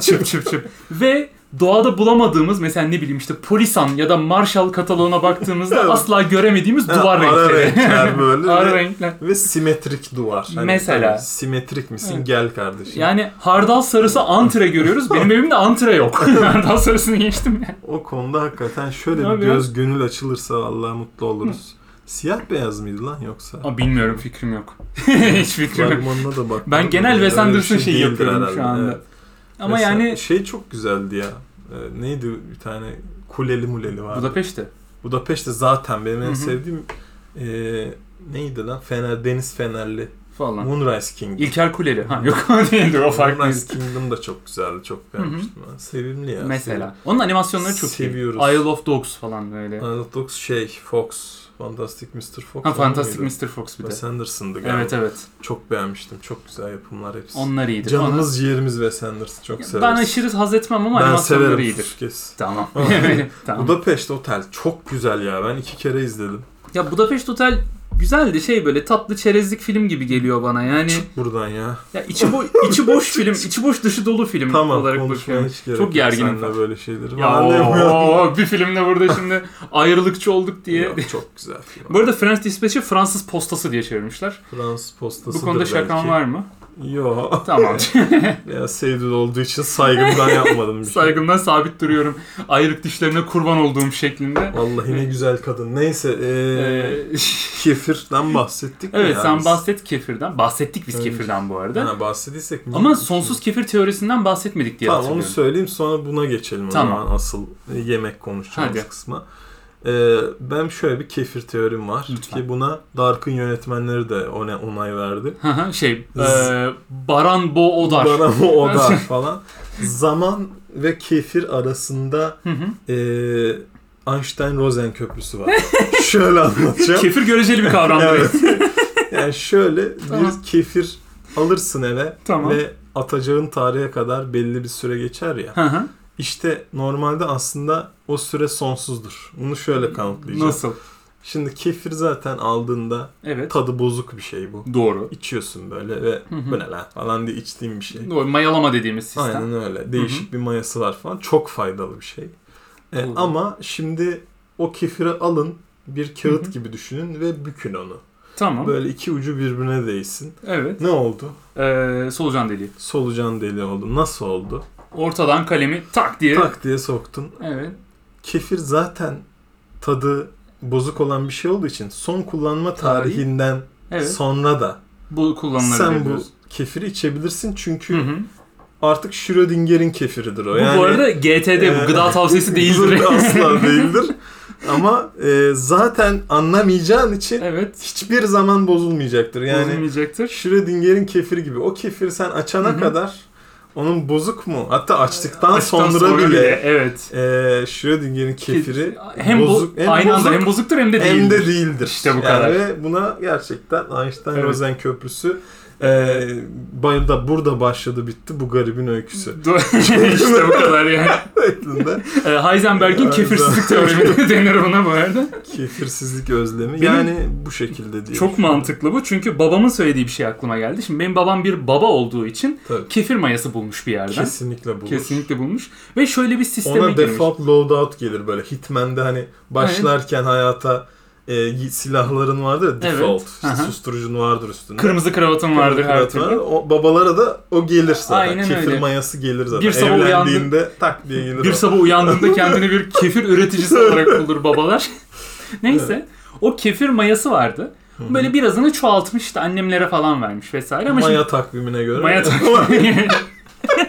S2: çıp çıp çıp ve doğada bulamadığımız mesela ne bileyim işte polisan ya da marshal kataloğuna baktığımızda
S1: Evet.
S2: asla göremediğimiz duvar
S1: Ara
S2: renkleri.
S1: renkler böyle.
S2: Ara
S1: Ve-
S2: renkler.
S1: Ve simetrik duvar. Hani
S2: Mesela.
S1: tabii Simetrik misin?
S2: Evet.
S1: Gel kardeşim.
S2: Yani hardal sarısı antre görüyoruz. Benim evimde antre yok. hardal sarısını geçtim ya.
S1: O konuda hakikaten
S2: Ne
S1: şöyle bir
S2: yapıyor?
S1: göz gönül açılırsa vallahi mutlu oluruz. Siyah beyaz mıydı lan yoksa?
S2: Ama bilmiyorum fikrim yok. Hiç fikrim yok.
S1: Fragmanına da bak.
S2: Ben genel Wes Anderson şeyi
S1: şey değildir
S2: yapıyorum
S1: herhalde,
S2: şu anda.
S1: evet.
S2: Ama
S1: Mesela
S2: yani
S1: Şey çok güzeldi ya. Ee, neydi bir tane kuleli muleli vardı.
S2: Budapeşte.
S1: Budapeşte zaten benim
S2: Hı
S1: en
S2: hı.
S1: sevdiğim e, neydi lan? Fener, Deniz Fenerli.
S2: falan.
S1: Moonrise Kingdom.
S2: İlker Kuleri. Ha yok o değildir o farklıydı.
S1: Moonrise Kingdom da çok güzeldi. Çok
S2: hı.
S1: beğenmiştim. ben. Sevimli ya.
S2: Mesela. Onun animasyonları çok
S1: Seviyoruz.
S2: iyi. Isle of Dogs falan böyle.
S1: Arnold Fox şey Fox. Fantastic Mr. Fox.
S2: Ha
S1: ama
S2: Fantastic
S1: mıydı?
S2: Mr. Fox bir de.
S1: Wes Anderson'dı galiba.
S2: Evet evet.
S1: Çok beğenmiştim. Çok güzel yapımlar hepsi.
S2: Onlar iyidir.
S1: Canımız ciğerimiz Wes Anderson. Çok
S2: Ona-
S1: severiz.
S2: Ben aşırı haz etmem ama
S1: ben
S2: animasyonları
S1: severim
S2: iyidir.
S1: Fuskes.
S2: Tamam. tamam.
S1: Budapest Otel çok güzel ya. Ben iki kere izledim.
S2: Ya Budapest Otel güzeldi şey böyle tatlı çerezlik film gibi geliyor bana. Yani
S1: Çık buradan ya.
S2: ya içi, bo- içi boş film, içi boş dışı dolu film
S1: Tamam
S2: olarak
S1: konuşmaya
S2: bakıyorum.
S1: hiç gerek
S2: Çok
S1: yok
S2: gerginim
S1: seninle
S2: ben.
S1: böyle şeyleri.
S2: Ya
S1: Ben anlayamıyorum.
S2: oo, bir filmde burada şimdi ayrılıkçı olduk diye.
S1: Yok, çok güzel film.
S2: Bu arada French Dispatch'i Fransız postası diye çevirmişler.
S1: Fransız postasıdır
S2: Bu konuda şakan
S1: belki.
S2: var mı?
S1: Yo.
S2: Tamam.
S1: ya sevdil olduğu için saygımdan yapmadım bir şey.
S2: Saygımdan sabit duruyorum. Ayrık dişlerine kurban olduğum şeklinde.
S1: Vallahi ne güzel kadın. Neyse. Ee,
S2: Ee,
S1: kefirden bahsettik mi
S2: evet
S1: ya
S2: sen
S1: biz?
S2: bahset kefirden. Bahsettik biz
S1: Evet.
S2: kefirden bu arada.
S1: Ha, bahsediysek mi?
S2: Ama sonsuz kefir teorisinden bahsetmedik diye
S1: Tamam onu
S2: hatırlıyorum.
S1: söyleyeyim sonra buna geçelim o
S2: Tamam.
S1: zaman asıl yemek konuşacağımız
S2: Hadi.
S1: kısma. Ee, ben şöyle bir kefir teorim var
S2: Lütfen.
S1: ki buna Dark'ın yönetmenleri de ona onay verdi.
S2: Hı hı, şey
S1: Z-
S2: e, Baran Bo Odar.
S1: Bana bu oda falan. Zaman ve kefir arasında
S2: Hı hı.
S1: ee, Einstein-Rosen köprüsü var. şöyle anlatacağım.
S2: Kefir göreceli bir kavramdır.
S1: Evet. yani şöyle
S2: Tamam.
S1: bir kefir alırsın eve
S2: Tamam.
S1: ve atacağın tarihe kadar belli bir süre geçer ya.
S2: Hı hı.
S1: İşte normalde aslında o süre sonsuzdur. Bunu şöyle kanıtlayacağım.
S2: Nasıl?
S1: Şimdi kefir zaten aldığında
S2: Evet.
S1: tadı bozuk bir şey bu.
S2: Doğru.
S1: İçiyorsun böyle ve
S2: Hı hı.
S1: bu ne lan falan diye içtiğin bir şey.
S2: Doğru. Mayalama dediğimiz sistem.
S1: Aynen öyle. Değişik bir mayası var falan. Çok faydalı bir şey. E,
S2: Doğru.
S1: ama şimdi o kefiri alın bir kağıt
S2: Hı hı.
S1: gibi düşünün ve bükün onu.
S2: Tamam.
S1: Böyle iki ucu birbirine değsin.
S2: Evet.
S1: Ne oldu?
S2: Ee, solucan deliği.
S1: Solucan deli oldu. Nasıl oldu?
S2: Ortadan kalemi tak diye.
S1: Tak diye soktun.
S2: Evet.
S1: Kefir zaten tadı bozuk olan bir şey olduğu için son kullanma
S2: Tarihi.
S1: tarihinden
S2: Evet.
S1: sonra da
S2: bu kullanılabilir.
S1: sen bu
S2: diyorsun.
S1: kefiri içebilirsin çünkü
S2: Hı hı.
S1: artık Schrödinger'in kefiridir o.
S2: Bu
S1: yani,
S2: bu arada GTD
S1: e,
S2: bu gıda tavsiyesi değildir.
S1: asla değildir. Ama e, zaten anlamayacağın için
S2: evet.
S1: hiçbir zaman bozulmayacaktır. Yani
S2: Bozulmayacaktır.
S1: Schrödinger'in kefiri gibi. O kefiri sen açana
S2: Hı hı.
S1: kadar onun bozuk mu? Hatta açtıktan,
S2: Açtıktan
S1: sonra, bile,
S2: Evet.
S1: eee Ee, Schrödinger'in kefiri
S2: hem
S1: bozuk,
S2: bozuk,
S1: hem
S2: aynı
S1: bozuk,
S2: anda hem bozuktur hem de değildir.
S1: hem de değildir.
S2: İşte bu
S1: Yani
S2: kadar.
S1: Ve buna gerçekten
S2: Evet.
S1: Einstein-Rosen köprüsü eee bayılda burada başladı bitti bu garibin öyküsü.
S2: Do- işte bu kadar yani.
S1: Aklında
S2: Ee, Heisenberg'in
S1: Evet.
S2: kefirsizlik teoremi denir buna bu arada.
S1: kefirsizlik özlemi.
S2: Benim-
S1: yani bu şekilde diye.
S2: Çok mantıklı bu çünkü babamın söylediği bir şey aklıma geldi. Şimdi benim babam bir baba olduğu için
S1: Tabii.
S2: kefir mayası bulmuş bir yerden.
S1: Kesinlikle bu.
S2: Kesinlikle bulmuş. Ve şöyle bir sisteme
S1: Ona
S2: girmiş.
S1: default loadout gelir böyle. Hitman'de hani başlarken hayata e, y- silahların vardır ya,
S2: Evet.
S1: default. İşte
S2: Hı hı.
S1: susturucun vardır üstünde.
S2: Kırmızı kravatım vardır her
S1: Kırmızı
S2: türlü.
S1: var. O, babalara da o gelir zaten.
S2: Aynen
S1: Kefir
S2: öyle.
S1: mayası gelir zaten.
S2: Bir sabah
S1: Evlendiğinde tak diye gelir
S2: Bir
S1: o.
S2: sabah uyandığında kendini bir kefir üreticisi olarak bulur babalar. Neyse. O kefir mayası vardı. Böyle birazını çoğaltmıştı. Annemlere falan vermiş vesaire. Ama
S1: Maya takvimine göre.
S2: şimdi... Maya takvimi.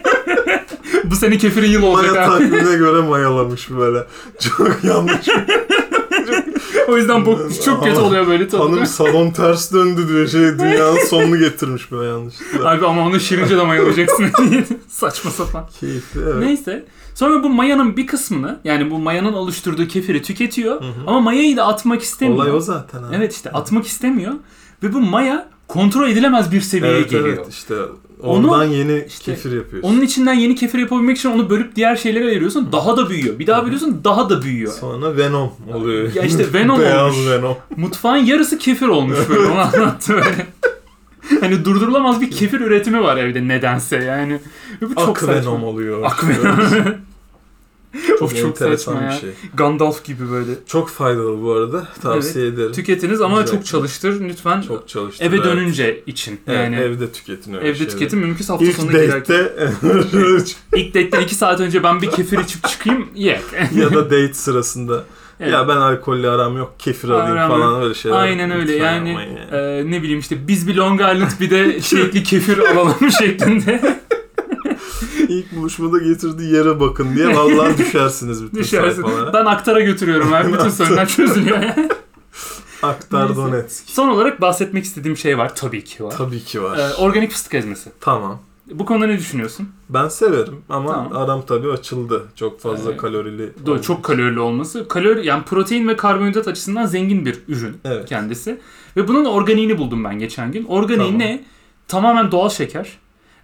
S2: Bu sene kefirin yılı olacak
S1: Maya
S2: abi.
S1: takvimine göre mayalamış böyle. Çok yanlış.
S2: O yüzden bu çok kötü
S1: Ama
S2: oluyor böyle tadı.
S1: Hanım salon ters döndü diyor. Şey, dünyanın sonunu getirmiş böyle yanlışlıkla.
S2: Abi ama onu şirince de mayalayacaksın. Saçma sapan.
S1: Keyifli evet.
S2: Neyse. Sonra bu mayanın bir kısmını yani bu mayanın oluşturduğu kefiri tüketiyor.
S1: Hı hı.
S2: Ama mayayı da atmak istemiyor.
S1: Olay o zaten. Abi.
S2: Evet işte atmak istemiyor. Ve bu maya kontrol edilemez bir seviyeye
S1: Evet
S2: geliyor.
S1: evet işte ondan yeni
S2: işte
S1: kefir yapıyorsun.
S2: Onun içinden yeni kefir yapabilmek için onu bölüp diğer şeylere ayırıyorsun. Daha da büyüyor. Bir daha biliyorsun daha da büyüyor.
S1: Sonra Venom oluyor.
S2: Ya işte Venom
S1: Beyaz
S2: olmuş.
S1: Venom.
S2: Mutfağın yarısı kefir olmuş böyle onu anlattı böyle. Hani durdurulamaz bir kefir üretimi var evde nedense yani. Ve bu çok
S1: Ak
S2: saçma.
S1: Venom oluyor.
S2: Ak Venom.
S1: Çok,
S2: Of, çok
S1: enteresan
S2: saçma
S1: bir
S2: ya.
S1: şey.
S2: Gandalf gibi böyle.
S1: Çok faydalı bu arada. Tavsiye ederim.
S2: Tüketiniz ama
S1: Güzel.
S2: çok çalıştır lütfen.
S1: Çok çalıştı.
S2: eve
S1: evet.
S2: dönünce için.
S1: Evet,
S2: Yani
S1: evde tüketin öyle
S2: evde
S1: şeyleri.
S2: tüketim mümkünse hafta
S1: İlk
S2: sonuna girerken.
S1: date'te
S2: İlk date'den 2 saat önce ben bir kefir içip çıkayım ye.
S1: ya da date sırasında
S2: Evet.
S1: ya ben alkolle aram yok kefir alayım
S2: Aram
S1: falan
S2: yok.
S1: öyle şeyler.
S2: Aynen öyle
S1: Lütfen
S2: yani,
S1: yapmayın yani.
S2: e, ne bileyim işte biz bir Long Island bir de çilekli kefir alalım şeklinde
S1: İlk buluşmada getirdiği yere bakın diye vallahi düşersiniz bütün
S2: düşersin.
S1: sayfalara.
S2: Ben aktara götürüyorum abi bütün sorunlar çözülüyor.
S1: Aktar
S2: Neyse.
S1: Donetsk.
S2: Son olarak bahsetmek istediğim şey var tabii ki var.
S1: Tabii ki var.
S2: E, organik fıstık ezmesi.
S1: tamam.
S2: Bu konuda ne düşünüyorsun?
S1: Ben severim ama
S2: Tamam.
S1: aram tabii açıldı. Çok fazla
S2: Evet.
S1: kalorili.
S2: Doğru, çok kalorili olması. Kalori yani protein ve karbonhidrat açısından zengin bir ürün.
S1: Evet.
S2: kendisi. Ve bunun organiğini buldum ben geçen gün. Organiği
S1: Tamam.
S2: ne? Tamamen doğal şeker.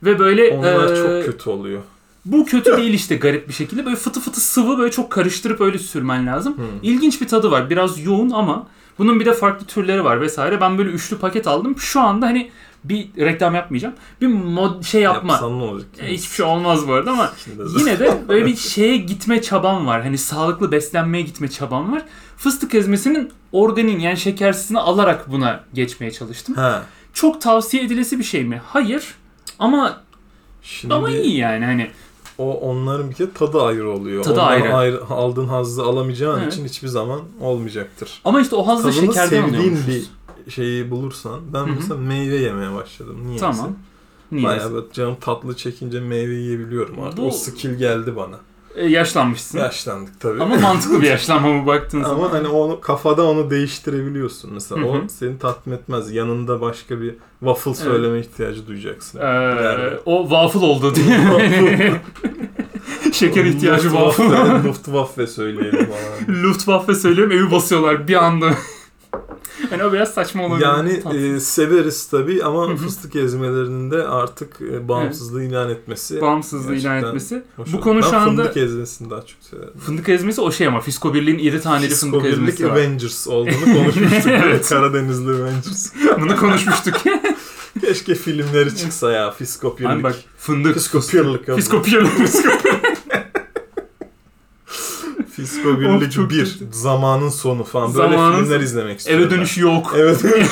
S2: Ve böyle
S1: Onlar
S2: e,
S1: çok kötü oluyor.
S2: bu kötü değil işte garip bir şekilde. Böyle fıtı fıtı sıvı böyle çok karıştırıp öyle sürmen lazım.
S1: Hı.
S2: İlginç bir tadı var. Biraz yoğun ama bunun bir de farklı türleri var vesaire. Ben böyle üçlü paket aldım. Şu anda hani bir reklam yapmayacağım. Bir mod şey yapma.
S1: Yapsan ne olacak?
S2: E, Hiçbir şey olmaz bu arada ama
S1: İçinde
S2: Yine de böyle bir şeye gitme çabam var. Hani sağlıklı beslenmeye gitme çabam var. Fıstık ezmesinin organin yani şekersizini alarak buna geçmeye çalıştım.
S1: Ha.
S2: Çok tavsiye edilesi bir şey mi? Hayır. Ama
S1: Şimdi
S2: ama iyi yani hani
S1: o onların bir kere tadı ayrı oluyor.
S2: Tadı
S1: Ondan
S2: ayrı.
S1: aldığın hazzı alamayacağın
S2: Evet.
S1: için hiçbir zaman olmayacaktır.
S2: ama işte o hazzı
S1: Tadını
S2: şekerden
S1: sevdiğin
S2: alıyormuşuz.
S1: bir şeyi bulursan ben
S2: Hı hı.
S1: mesela meyve yemeye başladım. Niye?
S2: Tamam. Niye?
S1: Bayağı böyle canım tatlı çekince meyve yiyebiliyorum artık.
S2: Bu-
S1: O skill geldi bana.
S2: E, yaşlanmışsın.
S1: Yaşlandık tabii.
S2: Ama
S1: Ama,
S2: mantıklı bir yaşlanma mı baktığın zaman.
S1: hani onu kafada onu değiştirebiliyorsun. Mesela
S2: Hı hı.
S1: o seni tatmin etmez. Yanında başka bir waffle söyleme ihtiyacı duyacaksın.
S2: Ee, o waffle oldu diye. Şeker ihtiyacı waffle.
S1: Luftwaffe, Luftwaffe söyleyelim falan.
S2: Luftwaffe söylüyorum evi basıyorlar bir anda. yani o biraz saçma olabilir.
S1: Yani
S2: Tatlı.
S1: e, severiz tabii ama
S2: Hı hı.
S1: fıstık ezmelerinin de artık e, bağımsızlığı ilan etmesi.
S2: bağımsızlığı ilan
S1: e, gerçekten
S2: etmesi.
S1: hoş
S2: Bu
S1: oldu.
S2: konu
S1: Ben
S2: şu anda
S1: fındık ezmesini daha çok severim.
S2: fındık ezmesi o şey ama Fisko Birliği'nin iri taneli fındık
S1: Birlik
S2: ezmesi var.
S1: Avengers olduğunu konuşmuştuk.
S2: Evet.
S1: Karadenizli Avengers.
S2: Bunu konuşmuştuk.
S1: Keşke filmleri çıksa ya. Fiskop
S2: Hani bak fındık.
S1: Fiskopirlik.
S2: Fisko Birliği.
S1: Fisko
S2: Of,
S1: Birlik
S2: çok
S1: 1.
S2: kötü.
S1: Zamanın sonu falan.
S2: Zamanın
S1: Böyle filmler
S2: sonu.
S1: izlemek istiyorum.
S2: Eve dönüşü yok.
S1: ben. Eve dönüş.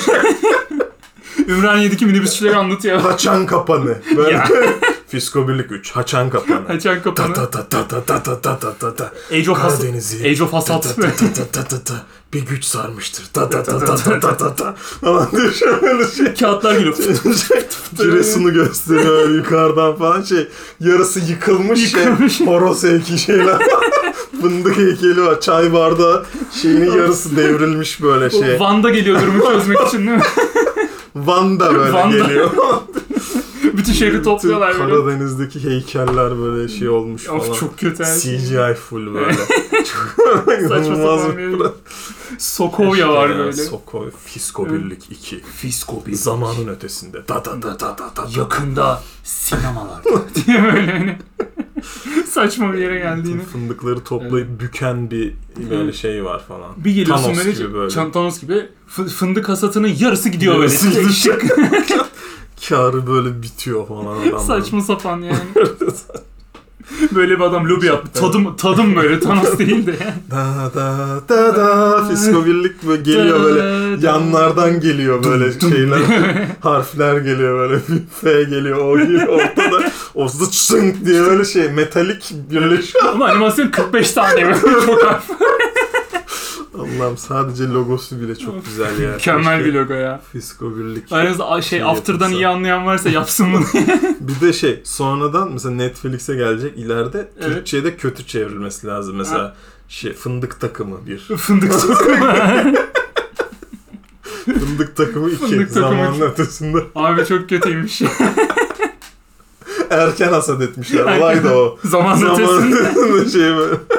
S2: Ümraniye'deki minibüsçüleri anlatıyor.
S1: Haçan kapanı. Böyle.
S2: Ya.
S1: Fisko Birlik 3. Haçan kapanı.
S2: Açan
S1: Ta
S2: kapanı.
S1: ta ta ta ta ta ta ta ta ta ta.
S2: Age of Hasat.
S1: Karadeniz'i.
S2: Age of
S1: Ta
S2: Hasat.
S1: ta ta ta ta ta ta ta. Bir güç sarmıştır. Ta ta ta ta ta ta ta ta. Falan diyor şöyle şey.
S2: Kağıtlar gülüyor.
S1: Giresun'u gösteriyor öyle yukarıdan falan şey. Yarısı yıkılmış,
S2: Yıkılmış.
S1: şey. Horoz heykeli şeyler. Fındık heykeli var. Çay bardağı şeyinin yarısı devrilmiş böyle şey.
S2: O Van'da geliyor durumu çözmek için değil mi?
S1: Van'da böyle
S2: Van'da.
S1: geliyor.
S2: Bütün şehri
S1: Bütün
S2: topluyorlar böyle.
S1: Karadeniz'deki heykeller böyle şey olmuş falan.
S2: Of çok kötü her şey.
S1: CGI full böyle. çok
S2: Saçma
S1: inanılmaz
S2: sapan
S1: bir- şey
S2: bir- Sokovya var
S1: Ya,
S2: böyle.
S1: Sokoy, Fisko
S2: Evet.
S1: Birlik 2.
S2: Fisko
S1: Zamanın ötesinde. Da da da da da da.
S2: Yakında sinemalarda diye böyle hani saçma bir yere geldiğini.
S1: Fındıkları toplayıp büken bir böyle şey var falan.
S2: Bir geliyorsun
S1: Thanos
S2: böyle,
S1: gibi böyle.
S2: Çan- Thanos gibi fı- fındık hasatının yarısı gidiyor böyle.
S1: Yarısı gidiyor.
S2: Şık.
S1: Karı böyle bitiyor falan adamların.
S2: saçma sapan yani. böyle bir adam lobi yaptı. Tadım tadım böyle Thanos değil de. yani.
S1: Da da da da. Fisko Birlik böyle geliyor böyle. Yanlardan geliyor böyle şeyler. harfler geliyor böyle. F geliyor, O geliyor ortada. O zıt şınk diye böyle şey metalik birleşiyor.
S2: Ama animasyon 45 tane böyle çok harf.
S1: Allah'ım sadece logosu bile çok güzel ya.
S2: Mükemmel bir logo ya.
S1: Fisko Birlik.
S2: Aranızda a- şey
S1: Şey
S2: After'dan
S1: yapılsa.
S2: iyi anlayan varsa yapsın bunu.
S1: Bir de şey sonradan mesela Netflix'e gelecek ileride
S2: Evet.
S1: Türkçe'de kötü çevrilmesi lazım. Mesela şey fındık takımı bir.
S2: Fındık sokuyor.
S1: fındık takımı iki.
S2: Fındık takımı
S1: Zamanın
S2: iki.
S1: ötesinde.
S2: Abi çok kötüymüş.
S1: Erken hasat etmişler. Olay da o.
S2: Zaman
S1: Zamanın
S2: ötesinde.
S1: ötesinde şey böyle.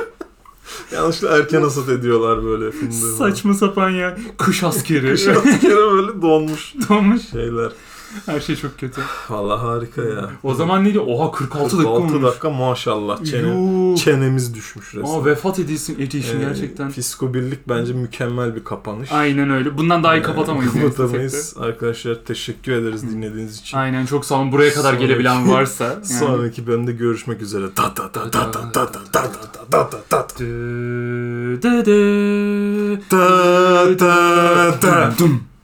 S1: Yanlışlıkla erken hasat ediyorlar böyle fındığı. falan. şey
S2: Saçma sapan ya. Kış askeri.
S1: Kış askeri böyle donmuş
S2: Donmuş.
S1: şeyler.
S2: Her şey çok kötü.
S1: Vallahi harika ya.
S2: O zaman neydi? Oha 46 dakika
S1: 46
S2: olmuş.
S1: dakika maşallah. Çene,
S2: Yuh.
S1: çenemiz düşmüş resmen.
S2: Aa vefat edilsin edilsin
S1: Ee,
S2: gerçekten.
S1: Fisko Birlik bence mükemmel bir kapanış.
S2: Aynen öyle. Bundan daha iyi kapatamayız. yani
S1: Kapatamayız.
S2: istesek
S1: Arkadaşlar teşekkür ederiz dinlediğiniz
S2: de.
S1: için.
S2: Aynen çok sağ olun. Buraya kadar
S1: Sonraki-
S2: gelebilen varsa. Yani.
S1: Sonraki bölümde görüşmek üzere. Ta ta ta ta ta ta ta ta ta ta ta ta
S2: Dö, dö, dö.
S1: ta ta ta
S2: Dum, dum.